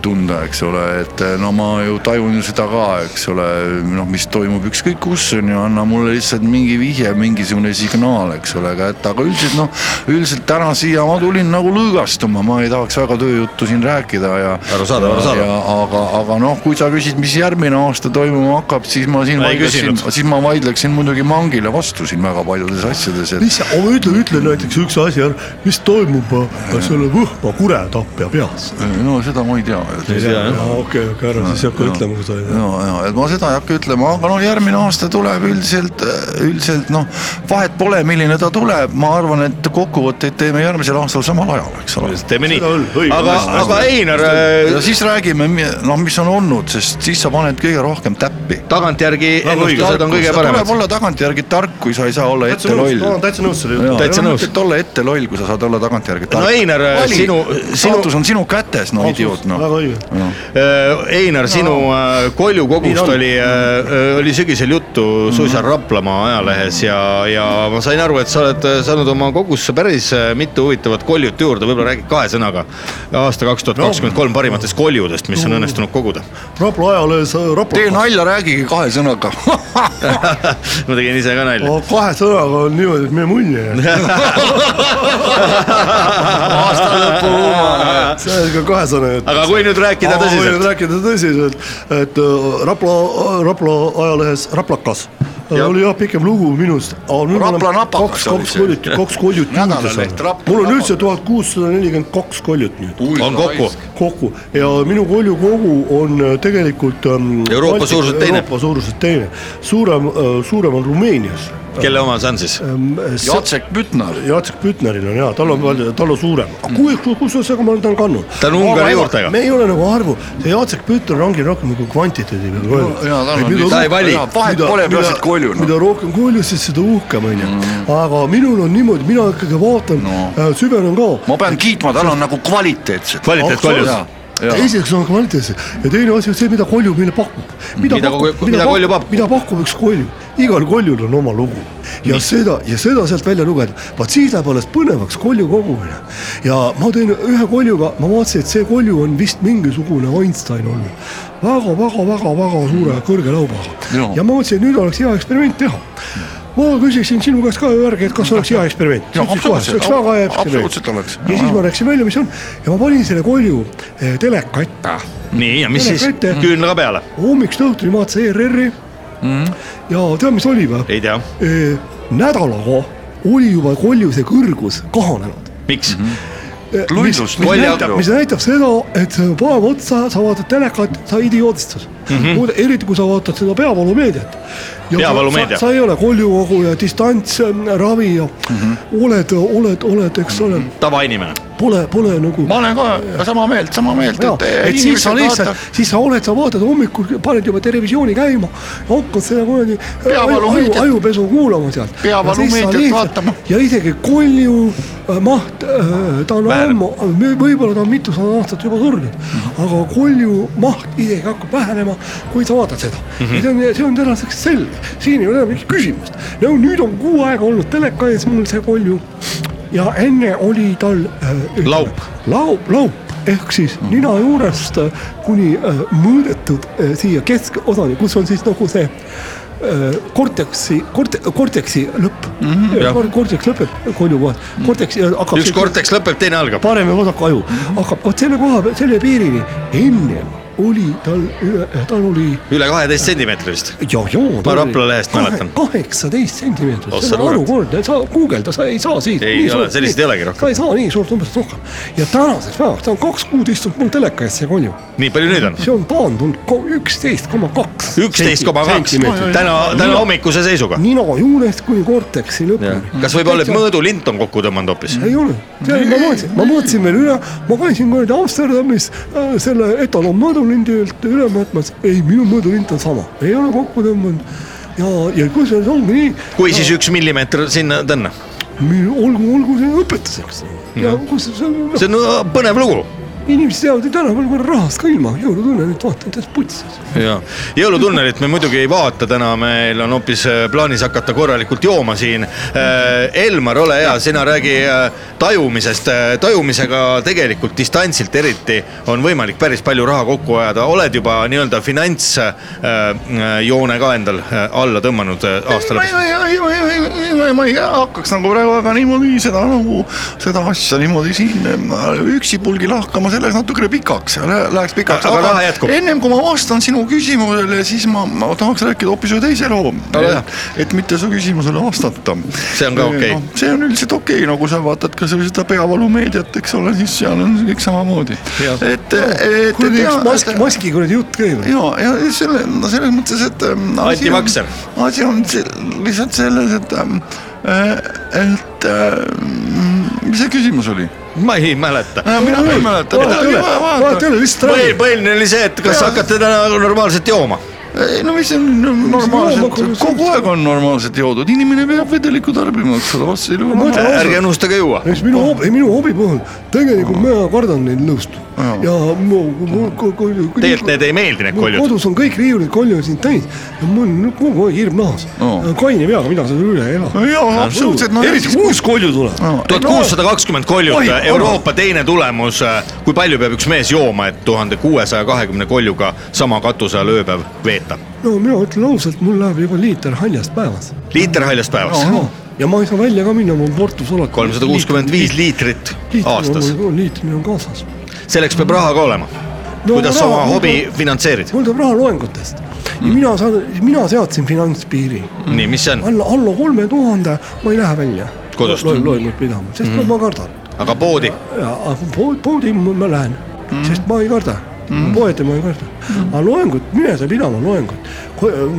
S4: tunda , eks ole , et eh, no ma ju tajun ju seda ka , eks ole , noh , mis toimub ükskõik kus on ju , anna mulle lihtsalt mingi vihje , mingisugune signaal , eks ole , aga et aga üldiselt noh , üldiselt täna siia ma tulin nagu lõõgastuma , ma ei tahaks väga tööjuttu siin rääkida ja .
S2: Arusaadav, arusaadav.
S4: ja aga , aga noh , kui sa küsid , mis järgmine aasta toimuma hakkab , siis ma siin
S2: Ma ei
S4: vaidleksin
S2: küsinud. ,
S4: siis ma vaidleksin muidugi mangile vastu siin väga paljudes asjades , et
S7: mis , ütle , ütle näiteks üks asi , mis toimub äh, selle Võhma kuretapja peas ?
S4: no seda ma ei tea .
S7: okei , okei , ära siis hakka ütlema , kui sa ei tea .
S4: no ja , et ma seda ei hakka ütlema , aga noh , järgmine aasta tuleb üldiselt , üldiselt noh , vahet pole , milline ta tuleb , ma arvan , et kokkuvõtteid teeme järgmisel aastal samal ajal , eks ole .
S2: teeme nii
S7: Seda on õige. ,
S2: aga ,
S7: Hästi,
S2: aga Einar , äh,
S4: ja siis räägime , noh , mis on olnud , sest siis sa paned kõige rohkem täppi .
S2: tagantjärgi ennustused on kõige
S4: tuleb
S2: paremad .
S4: olla tagantjärgi tark , kui sa ei saa olla ette loll .
S7: täitsa nõus selle
S4: Jaa,
S2: Täitsa
S4: ei ole
S2: nõus.
S4: mõtet olla ette loll , kui sa saad olla tagantjärgi
S2: no Einar , sinu , sinu
S4: saatus , on sinu kätes , no idioot noh .
S7: väga õige .
S2: Äh, Einar , sinu äh, koljukogust oli , oli sügisel juttu
S4: Mhm.
S2: suisa Raplamaa ajalehes ja , ja ma sain aru , et sa oled äh, saanud oma kogusse päris äh, mitu huvitavat koljut juurde , võib-olla räägid kahe sõnaga aasta kaks tuhat kakskümmend kolm parimatest koljudest , mis on õnnestunud koguda . [laughs]
S7: Rapla ajalehes äh, Rapla
S4: tee nalja , räägige kahe
S7: [laughs]
S4: sõnaga .
S2: ma tegin ise ka nalja .
S7: Aga kahe sõnaga on niimoodi , et me mulje
S2: [laughs]
S7: ei jää .
S4: aasta lõpu huumor .
S7: see on ikka kahe sõnaga .
S2: [laughs] aga kui nüüd rääkida tõsiselt ,
S7: rääkida tõsiselt , et äh, Rapla , Rapla ajalehes Raplakas
S2: Jah.
S7: ja. oli jah pikem lugu minu arust .
S4: Rapla napakas
S7: kaks ,
S4: oli
S7: kaks
S4: see.
S7: koljut , kaks koljut juurde
S4: Nädalaleht
S7: saanud
S4: Rapla .
S7: mul on üldse
S4: napakas.
S7: tuhat kuussada nelikümmend kaks koljut nüüd
S2: on kokku .
S7: kokku ja minu koljukogu on äh, tegelikult ähm, .
S2: Euroopa suuruselt teine.
S7: Euroopa suuruselt teine , suurem , suurem on Rumeenias .
S2: kelle oma see on siis ?
S4: Jacek Bütnar .
S7: Jacek Pütneril on jaa , tal on palju , tal on suurem , kui , kus on see , aga ma olen tal kandnud .
S2: Mm. Ta on Ungari juurtega.
S7: me ei ole nagu arvu , see Jacek Pütner ongi rohkem nagu kvantiteedi peal
S4: jaa, tal on
S7: mida
S4: nii-
S2: ta ei vali.
S7: mida-
S4: Vahet
S7: mida-
S4: pole, peaasi, et
S7: mida-
S4: kolju, noh. Mm.
S7: mida rohkem kolju , siis seda uhkem onju , aga minul on niimoodi , mina ikkagi vaatan
S4: No.
S7: äh, , süvenen ka .
S4: ma pean kiitma , tal on nagu kvaliteetset .
S2: kvaliteetkoljud .
S4: Jaa, jaa.
S7: esiteks on kvaliteetne ja teine asi on see , mida kolju meile pakub .
S2: Mida kogu- mida kolju pakub?
S7: mida pakub üks kolju , igal koljul on oma lugu ja seda ja seda sealt välja lugeda , vaat siis läheb alles põnevaks kolju kogumine . ja ma teen ühe koljuga , ma vaatasin , et see kolju on vist mingisugune Einstein olnud väga, , väga-väga-väga-väga suure kõrge laubaga
S4: Joo.
S7: ja ma mõtlesin , et nüüd oleks hea eksperiment teha ma küsiksin sinu käest ka värgi , et kas oleks hea eksperiment .
S4: Jaa, absoluutselt.
S7: oleks väga hea
S4: Absoluutselt oleks.
S7: eksperiment . ja siis ma rääkisin välja , mis on ja ma panin selle kolju eh, teleka ette
S2: nii , ja mis
S7: Pane
S2: siis
S7: kätte. ?
S2: küünlaga peale .
S7: hommikust õhtuni vaatasin ERR-i mm. ja tead , mis oli või ?
S2: ei tea ,
S7: nädalaga oli juba koljuse kõrgus kahanenud .
S2: miks ?
S4: Mhm. luidlust .
S7: mis näitab , mis näitab seda , et päev otsa sa vaatad telekat , sa idioodistad mm . -hmm. eriti kui sa vaatad seda peavalumeediat .
S2: Peavalumeedia.
S7: sa ei ole koljukogu ja distantsravi ja mm -hmm. oled , oled , oled , eks ole ,
S2: tavainimene .
S7: pole , pole nagu .
S4: ma olen ka sama meelt , sama meelt ,
S7: Jaa,
S4: et, eh,
S7: et siis sa lihtsalt , siis sa oled , sa vaatad hommikul , paned juba televisiooni käima , hakkad seda kuradi aju, aju,
S4: Peavalumeediat.
S7: ajupesu kuulama sealt .
S4: Peavalumeediat vaatama. .
S7: ja isegi kolju äh, maht , ta on ammu , võib-olla ta on mitusada aastat juba surnud , aga kolju maht isegi hakkab vähenema , kui sa vaatad seda mm .
S4: Mhm.
S7: -hmm. see on , see on tänaseks selge , siin ei ole enam mingit küsimust . no nüüd on kuu aega olnud teleka ees mul see kolju ja enne oli tal äh,
S2: Laup.
S7: laup , laup ehk siis nina juurest äh, kuni äh, mõõdetud äh, siia keskosani , kus on siis nagu see äh, korteksi , korte- , korteksi lõpp mm . -hmm, korteks lõpeb kolju kohas , korteks äh, hakkab .
S2: üks korteks lõpeb , teine algab .
S7: parem ja vasak aju hakkab , vot selle koha peal , selle piirini ennem oli tal , tal oli
S2: üle kaheteist sentimeetri vist .
S7: ja , ja .
S2: Ma Rapla lehest mäletan. Oh,
S7: kaheksateist sentimeetrit ,
S2: Ossa
S7: see on
S2: luurat.
S7: harukordne , sa guugelda , sa ei saa siit .
S2: Ei ole, selliseid ei olegi rohkem.
S7: sa ei saa nii suurt umbes rohkem ja tänaseks päevaks , ta on kaks kuud istunud mul teleka ees , see konju ,
S2: nii palju nüüd on ?
S7: see on taandunud üksteist koma kaks .
S2: üksteist koma kaks , täna , täna hommikuse seisuga .
S7: nina juurest kuni korteksi lõpuni .
S2: kas võib olla , et mõõdulint on kokku tõmmanud hoopis ?
S7: ei ole , see ma mõõtsin , ma mõõtsin veel üle , ma käisin kuradi Amsterdamis äh, selle etalon mõõdulindilt üle mõõtmas , ei minu mõõdulint on sama , ei ole kokku tõmmanud ja , ja kusjuures ongi nii .
S2: kui siis üks millimeeter sinna-tänna .
S7: olgu , olgu see õpetuseks . ja kus see ,
S2: see on no, põnev lugu
S7: inimesed jäävad ju tänaval korra rahast ka ilma , jõulutunne nüüd vaatan , täitsa putsis .
S2: ja jõulutunnelit me muidugi ei vaata täna , meil on hoopis äh, plaanis hakata korralikult jooma siin . Elmar , ole hea , sina räägi äh, tajumisest , tajumisega tegelikult distantsilt eriti on võimalik päris palju raha kokku ajada , oled juba nii-öelda finantsjoone ka endal äh, alla tõmmanud äh, aasta
S4: ma ei , ma
S2: lõpus ?
S4: ei , ma ei , ma ei , ma ei , ma ei , ma ei hakkaks nagu praegu väga niimoodi seda nagu , seda asja niimoodi siin äh, üksipulgi lahkama , see läheks natukene pikaks , läheks pikaks .
S2: Aga raha jätkub.
S4: ennem kui ma vastan sinu küsimusele , siis ma, ma tahaks rääkida hoopis ühe teise loo
S2: Ole hea. ,
S4: et mitte su küsimusele vastata .
S2: See on ka okei.
S4: see on üldiselt okei , nagu sa vaatad ka seda- seda peavalumeediat , eks ole , siis seal on kõik samamoodi . et , et , et .
S7: kuradi üks mask , maski kuradi jutt käib .
S4: ja , ja selle , no selles mõttes , et . ähm,
S2: Antivakser. .
S4: asi on se- lihtsalt selles , et , et ähm, mis see küsimus oli ?
S2: ma ei mäleta .
S4: mina ka ei mäleta .
S7: vaata üle , vaata üle , lihtsalt räägi .
S2: põhiline oli see , et kas hakkate täna normaalselt jooma ?
S4: ei no mis on normaalselt
S7: jooma- ,
S4: kogu aeg on normaalselt joodud , inimene peab vedelikku tarbima , eks ole , vastasel juhul on
S7: mõtle-
S2: ärge unustage juua .
S7: eks minu hobi , minu hobi puhul tegelikult mina kardan neid lõust ja mu , mu .
S2: tegelikult need ei meeldi , need
S7: mul
S2: koljud .
S7: kodus on kõik riiulid , koljud siin täis ja mul on kogu aeg hirm nahas
S4: Aa. .
S7: kaine peaga , mina selle üle ei ela .
S4: jaa , absoluutselt , no
S7: eriti kui uus kolju tuleb .
S2: tuhat kuussada kakskümmend koljut
S7: Oi, , oi.
S2: Euroopa teine tulemus . kui palju peab üks mees jooma , et tuhande kuuesaja kahekümne koljuga sama katuse all ööpäev veeta ?
S7: no mina ütlen ausalt , mul läheb juba liiter haljast päevas
S2: liiter haljast päevas ,
S7: no. . ja ma ei saa välja ka minna , mul on Portus alati .
S2: kolmsada kuuskümmend viis . liitrit aastas .
S7: liitrimine on kaasas .
S2: selleks peab raha ka olema . kuidas
S7: raha-
S2: oma hobi finantseerid ?
S7: mul tuleb raha loengutest ja mina saan , mina seadsin finantspiiri
S2: nii , mis see on ?
S7: alla , alla kolme tuhande ma ei lähe välja .
S2: Kodust?
S7: loengut pidama , sest mm. ma kardan .
S2: aga poodi ?
S7: pood , poodi ma ma lähen mm. , sest ma ei karda mm. , poodi ma ei karda mm. . aga loengut , mine sa pidama loengut ,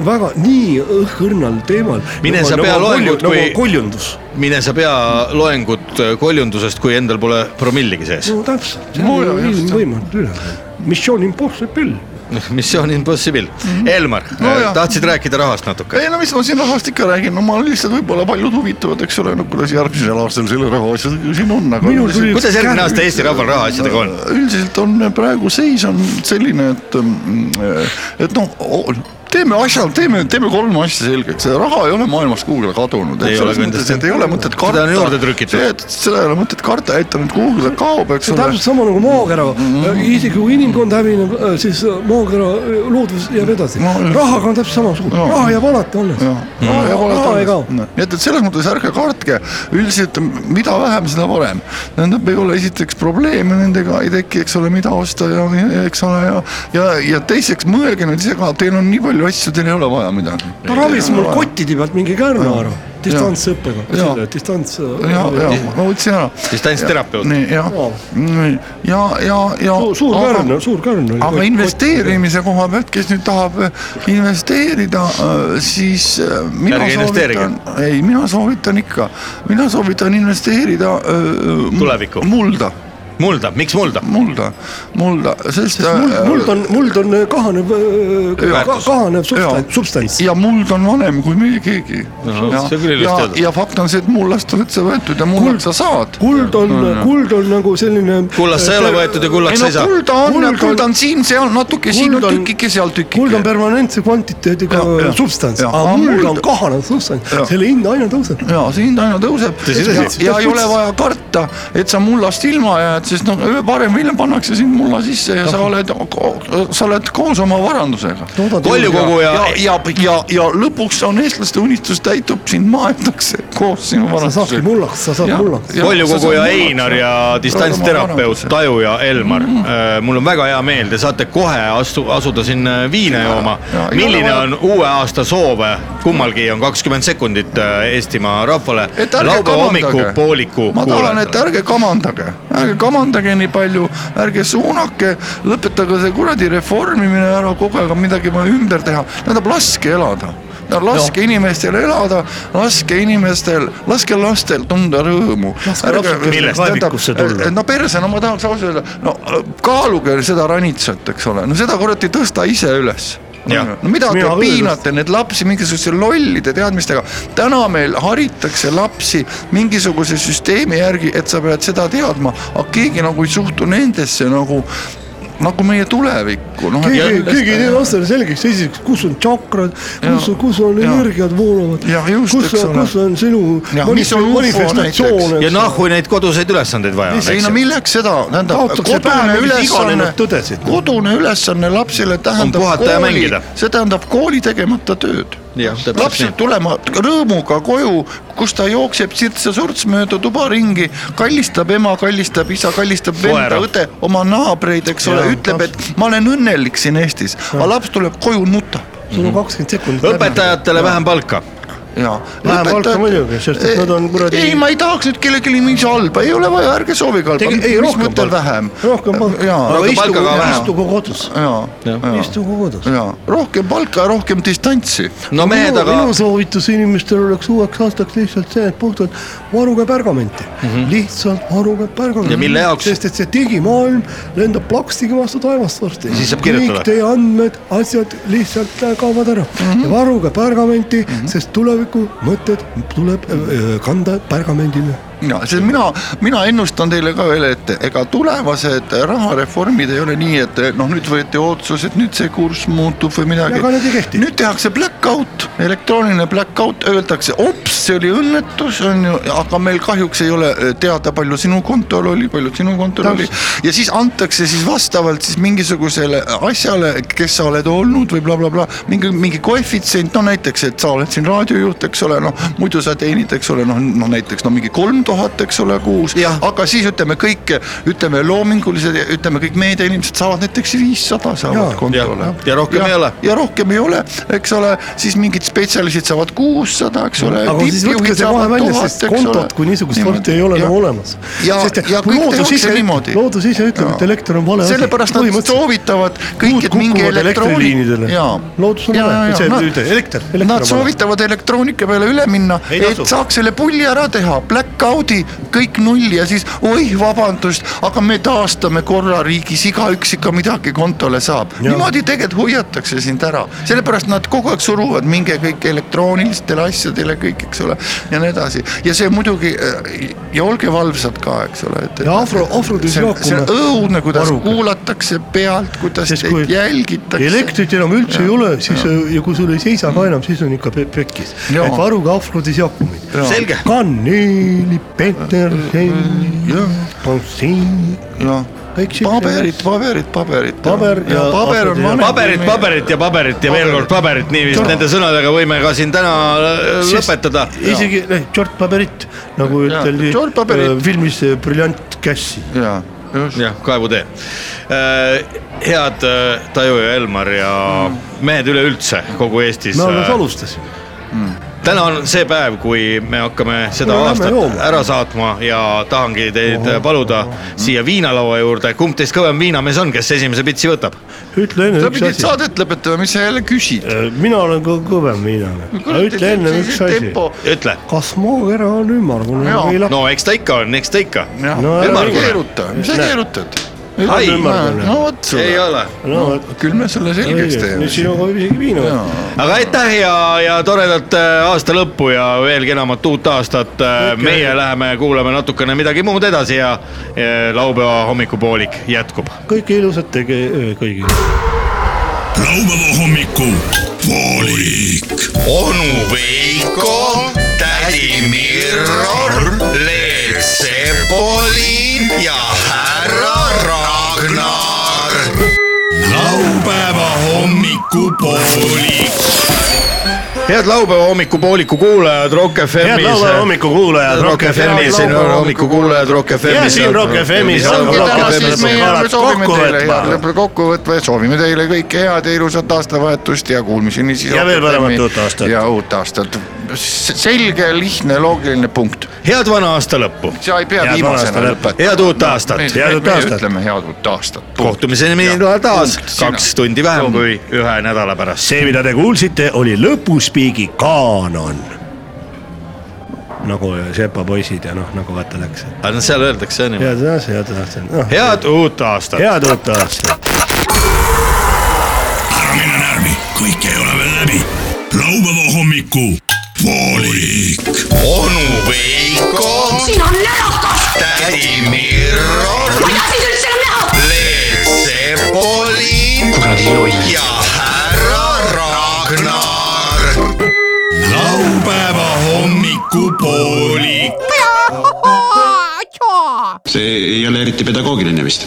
S7: väga nii õhkõrnal teemal .
S2: Mine sa pea loengut,
S7: kui .
S2: kui-
S7: nagu koljundus ,
S2: mine sa pea loengut koljundusest , kui endal pole promilligi sees .
S7: no täpselt , see on ilmvõimatu üle . Mission impossible .
S2: [laughs] Mission impossible .
S4: Mhm.
S2: Elmar äh,
S4: Nojah. ,
S2: tahtsid rääkida rahast natuke ?
S4: ei no mis ma siin rahast ikka räägin , no ma lihtsalt võib-olla paljud huvituvad , eks ole , no kuidas järgmisel aastal selle rahaasjadega siin on , aga .
S7: Minul tuli
S2: kuidas järgmine aasta Eesti rahval rahaasjadega on ?
S4: üldiselt on äh, praegu seis on selline , et , et noh , teeme asja , teeme , teeme kolm asja selgeks , raha ei ole maailmast kuhugile kadunud ,
S2: Ei
S4: et selles
S2: ole
S4: mõttes ,
S2: kindlasti.
S4: et ei ole mõtet
S2: Seda on
S4: karta .
S2: juurde trükitud.
S4: seda ei ole mõtet karta , et ta nüüd kuhugile kaob , eks
S7: see on
S4: ole .
S7: täpselt sama nagu maakera ,
S4: Mm,
S7: isegi kui inimkond hävineb , siis äh, maakera äh, loodus jääb edasi
S4: No, . just.
S7: rahaga on täpselt samasugune ,
S4: No.
S7: raha jääb alati alles . raha ei kao .
S4: nii et , et selles mõttes ärge kartke , üldiselt mida vähem , seda parem . tähendab , ei ole esiteks probleeme nendega ei teki , eks ole , mida osta ja ja eks ole ja , ja , ja teiseks mõelge nüüd ise ka , teil on nii palju asju , teil ei ole vaja midagi .
S7: ta ravis mul . kottide pealt mingi kärna ära , distantsõppega
S4: Ja. ,
S7: distants . äh,
S4: ja , ja ma võtsin ära .
S2: Distantsterapeut.
S4: nii jah , ja , ja , ja .
S7: suur kärn , suur kärn oli .
S4: aga investeerimise koha pealt , kes nüüd tahab äh, investeerida , siis äh, mina
S2: Ärge
S4: soovitan , ei , mina soovitan ikka , mina soovitan investeerida äh, mu-
S2: Tulevikku.
S4: mulda ,
S2: mulda , miks mulda ?
S4: mulda , mulda , sest . äh,
S7: muld , muld on , muld on äh, kahaneb äh, ka,
S2: Väärtus. ,
S7: kahaneb substants , substants .
S4: ja muld on vanem kui meie keegi . ja
S2: see küll , ilus
S4: ja,
S2: teada.
S4: ja fakt on see , et mullast oled sa võetud ja mullat sa saad .
S7: kuld on , kuld on nagu selline .
S2: kullast sa ei ole võetud ja
S4: Mm. ei
S2: kullaks sa
S4: no
S2: ei saa .
S4: kulda on ,
S7: Muld on-
S4: kulda on siin-seal natuke , siin on
S7: Muld on-
S4: tükike , seal
S7: kuld on
S4: tükike .
S7: permanentse kvantiteediga
S4: Ja, ja.
S7: substants ,
S4: Ja.
S7: aga
S4: Aga
S7: muld
S4: muld-
S7: on kahanev substants
S4: Ja. ,
S7: selle hind aina tõuseb .
S4: ja see hind aina tõuseb
S2: Tõsi,
S4: ja,
S2: tõsi.
S4: ja ei ole vaja karta , et sa mullast ilma jääd , sest noh , varem või hiljem pannakse sind mulla sisse ja sa oled , sa oled koos oma varandusega .
S2: koljukoguja
S4: ja , ja , ja , ja lõpuks on eestlaste unistus täitub , sind maetakse koos sinu
S7: sa saadki
S4: varandusega .
S7: mullaks , sa saad
S4: Jah.
S7: mullaks .
S4: Jah.
S2: koljukoguja
S4: sa saad
S2: Einar
S4: mullaks,
S2: ja
S4: jah.
S2: distantsterapeut Taju ja Elmar
S4: Mhm.
S2: mm , -hmm. mul on väga hea meel , te saate kohe astu- , asuda siin äh, viina jooma
S4: ja, . ei
S2: milline
S4: ole vaja-
S2: on uue aasta soov , kummalgi on kakskümmend sekundit äh, Eestimaa rahvale .
S4: et ärge
S2: laupäeva hommikupooliku
S4: kamandage , ma tahan , et
S2: kuulajatele .
S4: ärge kamandage , ärge kamandage nii palju , ärge suunake , lõpetage see kuradi reformimine ära , kogu aeg on midagi vaja ümber teha , tähendab laske elada . No, laske no. inimestel elada , laske inimestel , laske lastel tunda rõõmu .
S2: lapsed millest?
S7: Kaevikusse tulla.
S4: Äh, no persena ma äh, tahaks ausalt öelda , no kaaluge seda ranitsat , eks ole , no seda kurat ei tõsta ise üles no mida te
S7: Mina ka
S4: piinate neid lapsi mingisuguste lollide teadmistega . täna meil haritakse lapsi mingisuguse süsteemi järgi , et sa pead seda teadma , aga keegi nagu ei suhtu nendesse nagu , nagu meie tulevikku .
S7: keegi , keegi ei tee lastele selgeks , esiteks , kus on tšakrad , kus
S4: Jaa. ,
S7: kus on
S4: Jaa.
S7: energiad voolavad
S4: Jah, , just,
S7: kus
S4: eks , ole.
S7: kus on sinu
S4: Jah, mis on
S7: manif-
S4: ufo
S7: manifestatsioon ,
S2: ja
S4: noh,
S2: nahui neid koduseid ülesandeid vaja on ,
S4: ei
S2: eks
S4: no
S2: ju .
S4: milleks seda , tähendab
S7: Kaotakse
S4: kodune
S7: pähe mingid
S4: ülesanne
S7: iganenud tõdesid. ,
S4: kodune ülesanne lapsele tähendab
S2: puhata ja
S4: kooli
S2: mängida. ,
S4: see tähendab kooli tegemata tööd .
S2: Jah, täpselt
S4: laps
S2: nii.
S4: peab tulema rõõmuga koju , kus ta jookseb sirts-sorts mööda tuba ringi , kallistab ema , kallistab isa , kallistab venda
S2: Koera. ,
S4: õde , oma naabreid , eks ole , ütleb , et ma olen õnnelik siin Eestis , aga laps tuleb koju nutab
S7: sul on kakskümmend sekundit .
S2: õpetajatele vähem palka .
S4: ja .
S7: Vähem palka muidugi, sest et nad on kuradi-
S4: ei , ma ei tahaks nüüd kellelegi mingi halba , ei ole vaja , ärge soovige halba ,
S7: Tegi- ei,
S4: mis
S7: rohkem
S4: mõttel
S7: palka.
S4: vähem .
S7: rohkem palka ,
S4: Jaa.
S7: aga
S2: Rohkem
S7: istugu
S2: palka ka , vähe.
S7: istugu kodus ,
S4: ja , ja ,
S7: istugu kodus .
S4: ja rohkem palka ja rohkem distantsi .
S2: no mehed ,
S7: minu,
S2: aga
S7: minu soovitus inimestele oleks uueks aastaks lihtsalt see , et puhtalt varuge pergamenti mm ,
S4: Mhm.
S7: -hmm. lihtsalt varuge pergamenti .
S2: Ja mille jaoks?
S7: sest et see digimaailm lendab plakstiga vastu taevast varsti .
S2: Siis saab kirjutada.
S7: kõik teie andmed , asjad lihtsalt äh, kaovad ära mm .
S4: Mhm.
S7: -hmm. ja varuge pergamenti mm , -hmm. sest tuleviku mõtted tuleb öö, kanda pergamendile .
S4: ja , sest mina , mina ennustan teile ka veel , et ega tulevased rahareformid ei ole nii , et noh , nüüd võeti otsus , et nüüd see kurss muutub või midagi
S7: Aga need ei kehti. .
S4: nüüd tehakse black out , elektrooniline black out , öeldakse ops , see oli õnnetus , on ju , aga meil kahjuks ei ole äh, teada , palju sinu kontol oli , palju sinu kontol oli ja siis antakse siis vastavalt siis mingisugusele asjale , kes sa oled olnud või blablabla bla, , bla, mingi , mingi koefitsient , no näiteks , et sa oled siin raadiojuht , eks ole , noh muidu sa teenid , eks ole , noh , no näiteks no mingi kolm tuhat , eks ole , kuus , aga siis ütleme kõik , ütleme loomingulised , ütleme kõik meediainimesed saavad näiteks viissada saavad kontole
S2: ja- ja rohkem ei ole.
S4: ja rohkem ei ole , eks ole , siis mingid spetsialistid saavad kuussada , eks ole .
S7: aga siis võtke see vahe välja , sest kontot kui niisugust sorti ei ole enam olemas .
S4: Ja- ja kõik tehakse niimoodi.
S7: loodus ise ütleb , et elekter on vale asi .
S4: sellepärast nad soovitavad kõik , et minge elektrooniliinidele .
S7: loodus on vale , see
S4: Noh,
S7: nüüd elekter .
S4: Nad soovitavad elektroonika peale üle minna ,
S7: Ei
S4: et
S7: tasu.
S4: saaks selle pulli ära teha , blackout'i , kõik nulli ja siis oih , vabandust , aga me taastame korra riigis , igaüks ikka midagi kontole saab . niimoodi tegelikult hoiatakse sind ära , sellepärast nad kogu aeg suruvad , minge kõik elektroonilistele asjadele kõik , eks ole , ja nii edasi . ja see muidugi äh, ja olge valvsad ka , eks ole , et .
S7: Ja afro- afrodisiaakum-
S4: see on õudne , kuidas
S7: Varuge.
S4: kuulatakse pealt , kuidas
S7: Sest
S4: teid
S7: kui
S4: jälgitakse .
S7: elektrit enam üldse ja, ei ole , siis ja. ja kui sul ei seisa ka enam , siis on ikka pe- pekkis .
S4: Jaa.
S7: et varuge afrodisiaakumid .
S2: selge ,
S7: kaneeli , peterselli , pansiini ,
S4: jah
S7: kõik
S4: paberit , paberit , paberit .
S7: Paber ja
S4: paber on
S7: asjad ja-
S4: vanem .
S2: paberit , paberit ja paberit ja veel kord paberit , nii vist nende sõnadega võime ka siin täna äh, lõpetada .
S7: isegi eh, George Paberit , nagu
S4: Jaa,
S7: üteldi
S4: George Paberit.
S7: eh, filmis eh, Brilliant Cassi .
S4: ja , just .
S2: jah , kaevutee . head äh, Taju ja Elmar ja mehed üleüldse kogu Eestis .
S7: Mm. me alles alustasime .
S2: täna on see päev , kui me hakkame seda
S7: Kuule, lähme
S2: aastat
S7: jooma.
S2: ära saatma ja tahangi teid oho, paluda oho. siia viinalaua juurde , kumb teist kõvem viinamees on , kes esimese pitsi võtab ?
S7: ütle enne
S4: sa
S7: üks
S4: pidid
S7: asi .
S4: saadet lõpetama , mis sa jälle küsid ?
S7: mina olen ka kõvem viinane . ütle enne üks asi .
S2: ütle .
S7: kas maakera on ümmargune
S4: Jaa.
S7: või lapp ?
S2: no eks ta ikka on , eks ta ikka .
S7: No
S4: ära
S2: ümmargune.
S4: keeruta , mis sa keerutad ?
S2: Ai,
S4: no vot
S2: ei
S4: sulle ,
S2: ole ,
S7: no
S4: küll me sulle selgeks teeme
S7: nüüd . sinuga võib isegi viina võtta .
S2: aga aitäh ja , ja toredat äh, aasta lõppu ja veel kenamat uut aastat okay. . meie läheme kuulame natukene midagi muud edasi ja äh, laupäeva hommikupoolik jätkub .
S7: kõike ilusat tege kõigile .
S1: laupäeva hommiku poolik .
S4: onu Veiko , tädi Mirror , Leet Sepolin ja härra Ragnar .
S1: laupäeva hommiku poolik .
S2: head laupäeva hommikupooliku kuulajad , Rock FM-is .
S6: head laupäeva hommikukuulajad ,
S2: Rock FM-i , siin on hommikukuulajad Rock FM-i .
S6: Ja siin Rock FM-is on Rock FM-is
S4: meie
S6: korrad
S4: soovime
S6: kokku
S4: teile
S6: võtma.
S4: head lõppu kokkuvõtva ja soovime teile kõike head ja ilusat aastavahetust ja kuulmiseni siis .
S6: Ja veel paremat uut aastat.
S4: ja uut aastat . selge , lihtne , loogiline punkt .
S2: head vana aasta lõppu ,
S4: sa ei pea
S6: Head
S4: viimasena
S6: vana aasta
S4: lõpetama .
S2: head uut aastat .
S6: Head uut aastat.
S4: ütleme head uut aastat .
S2: kohtumiseni
S4: Jah,
S2: taas
S4: punkt, sina.
S2: kaks tundi vähem kui ühe nädala pärast .
S6: see , mida te kuulsite , oli lõpuspiigi kaanon . nagu sepa poisid ja noh , nagu vaata läks .
S2: aga seal öeldakse niimoodi .
S7: head aastat , head aastat no, .
S2: head uut aastat .
S6: head uut aastat .
S1: ära mine närvi ,
S12: kõik ei ole veel läbi . laupäeva hommiku poolik .
S2: onu Veiko ,
S9: siin on närakas ,
S2: tädi Mirro ,
S9: mida siis üldse enam näha ,
S2: Leet Sepoli ja härra Ragnar .
S12: laupäeva hommiku poolik .
S2: see ei ole eriti pedagoogiline vist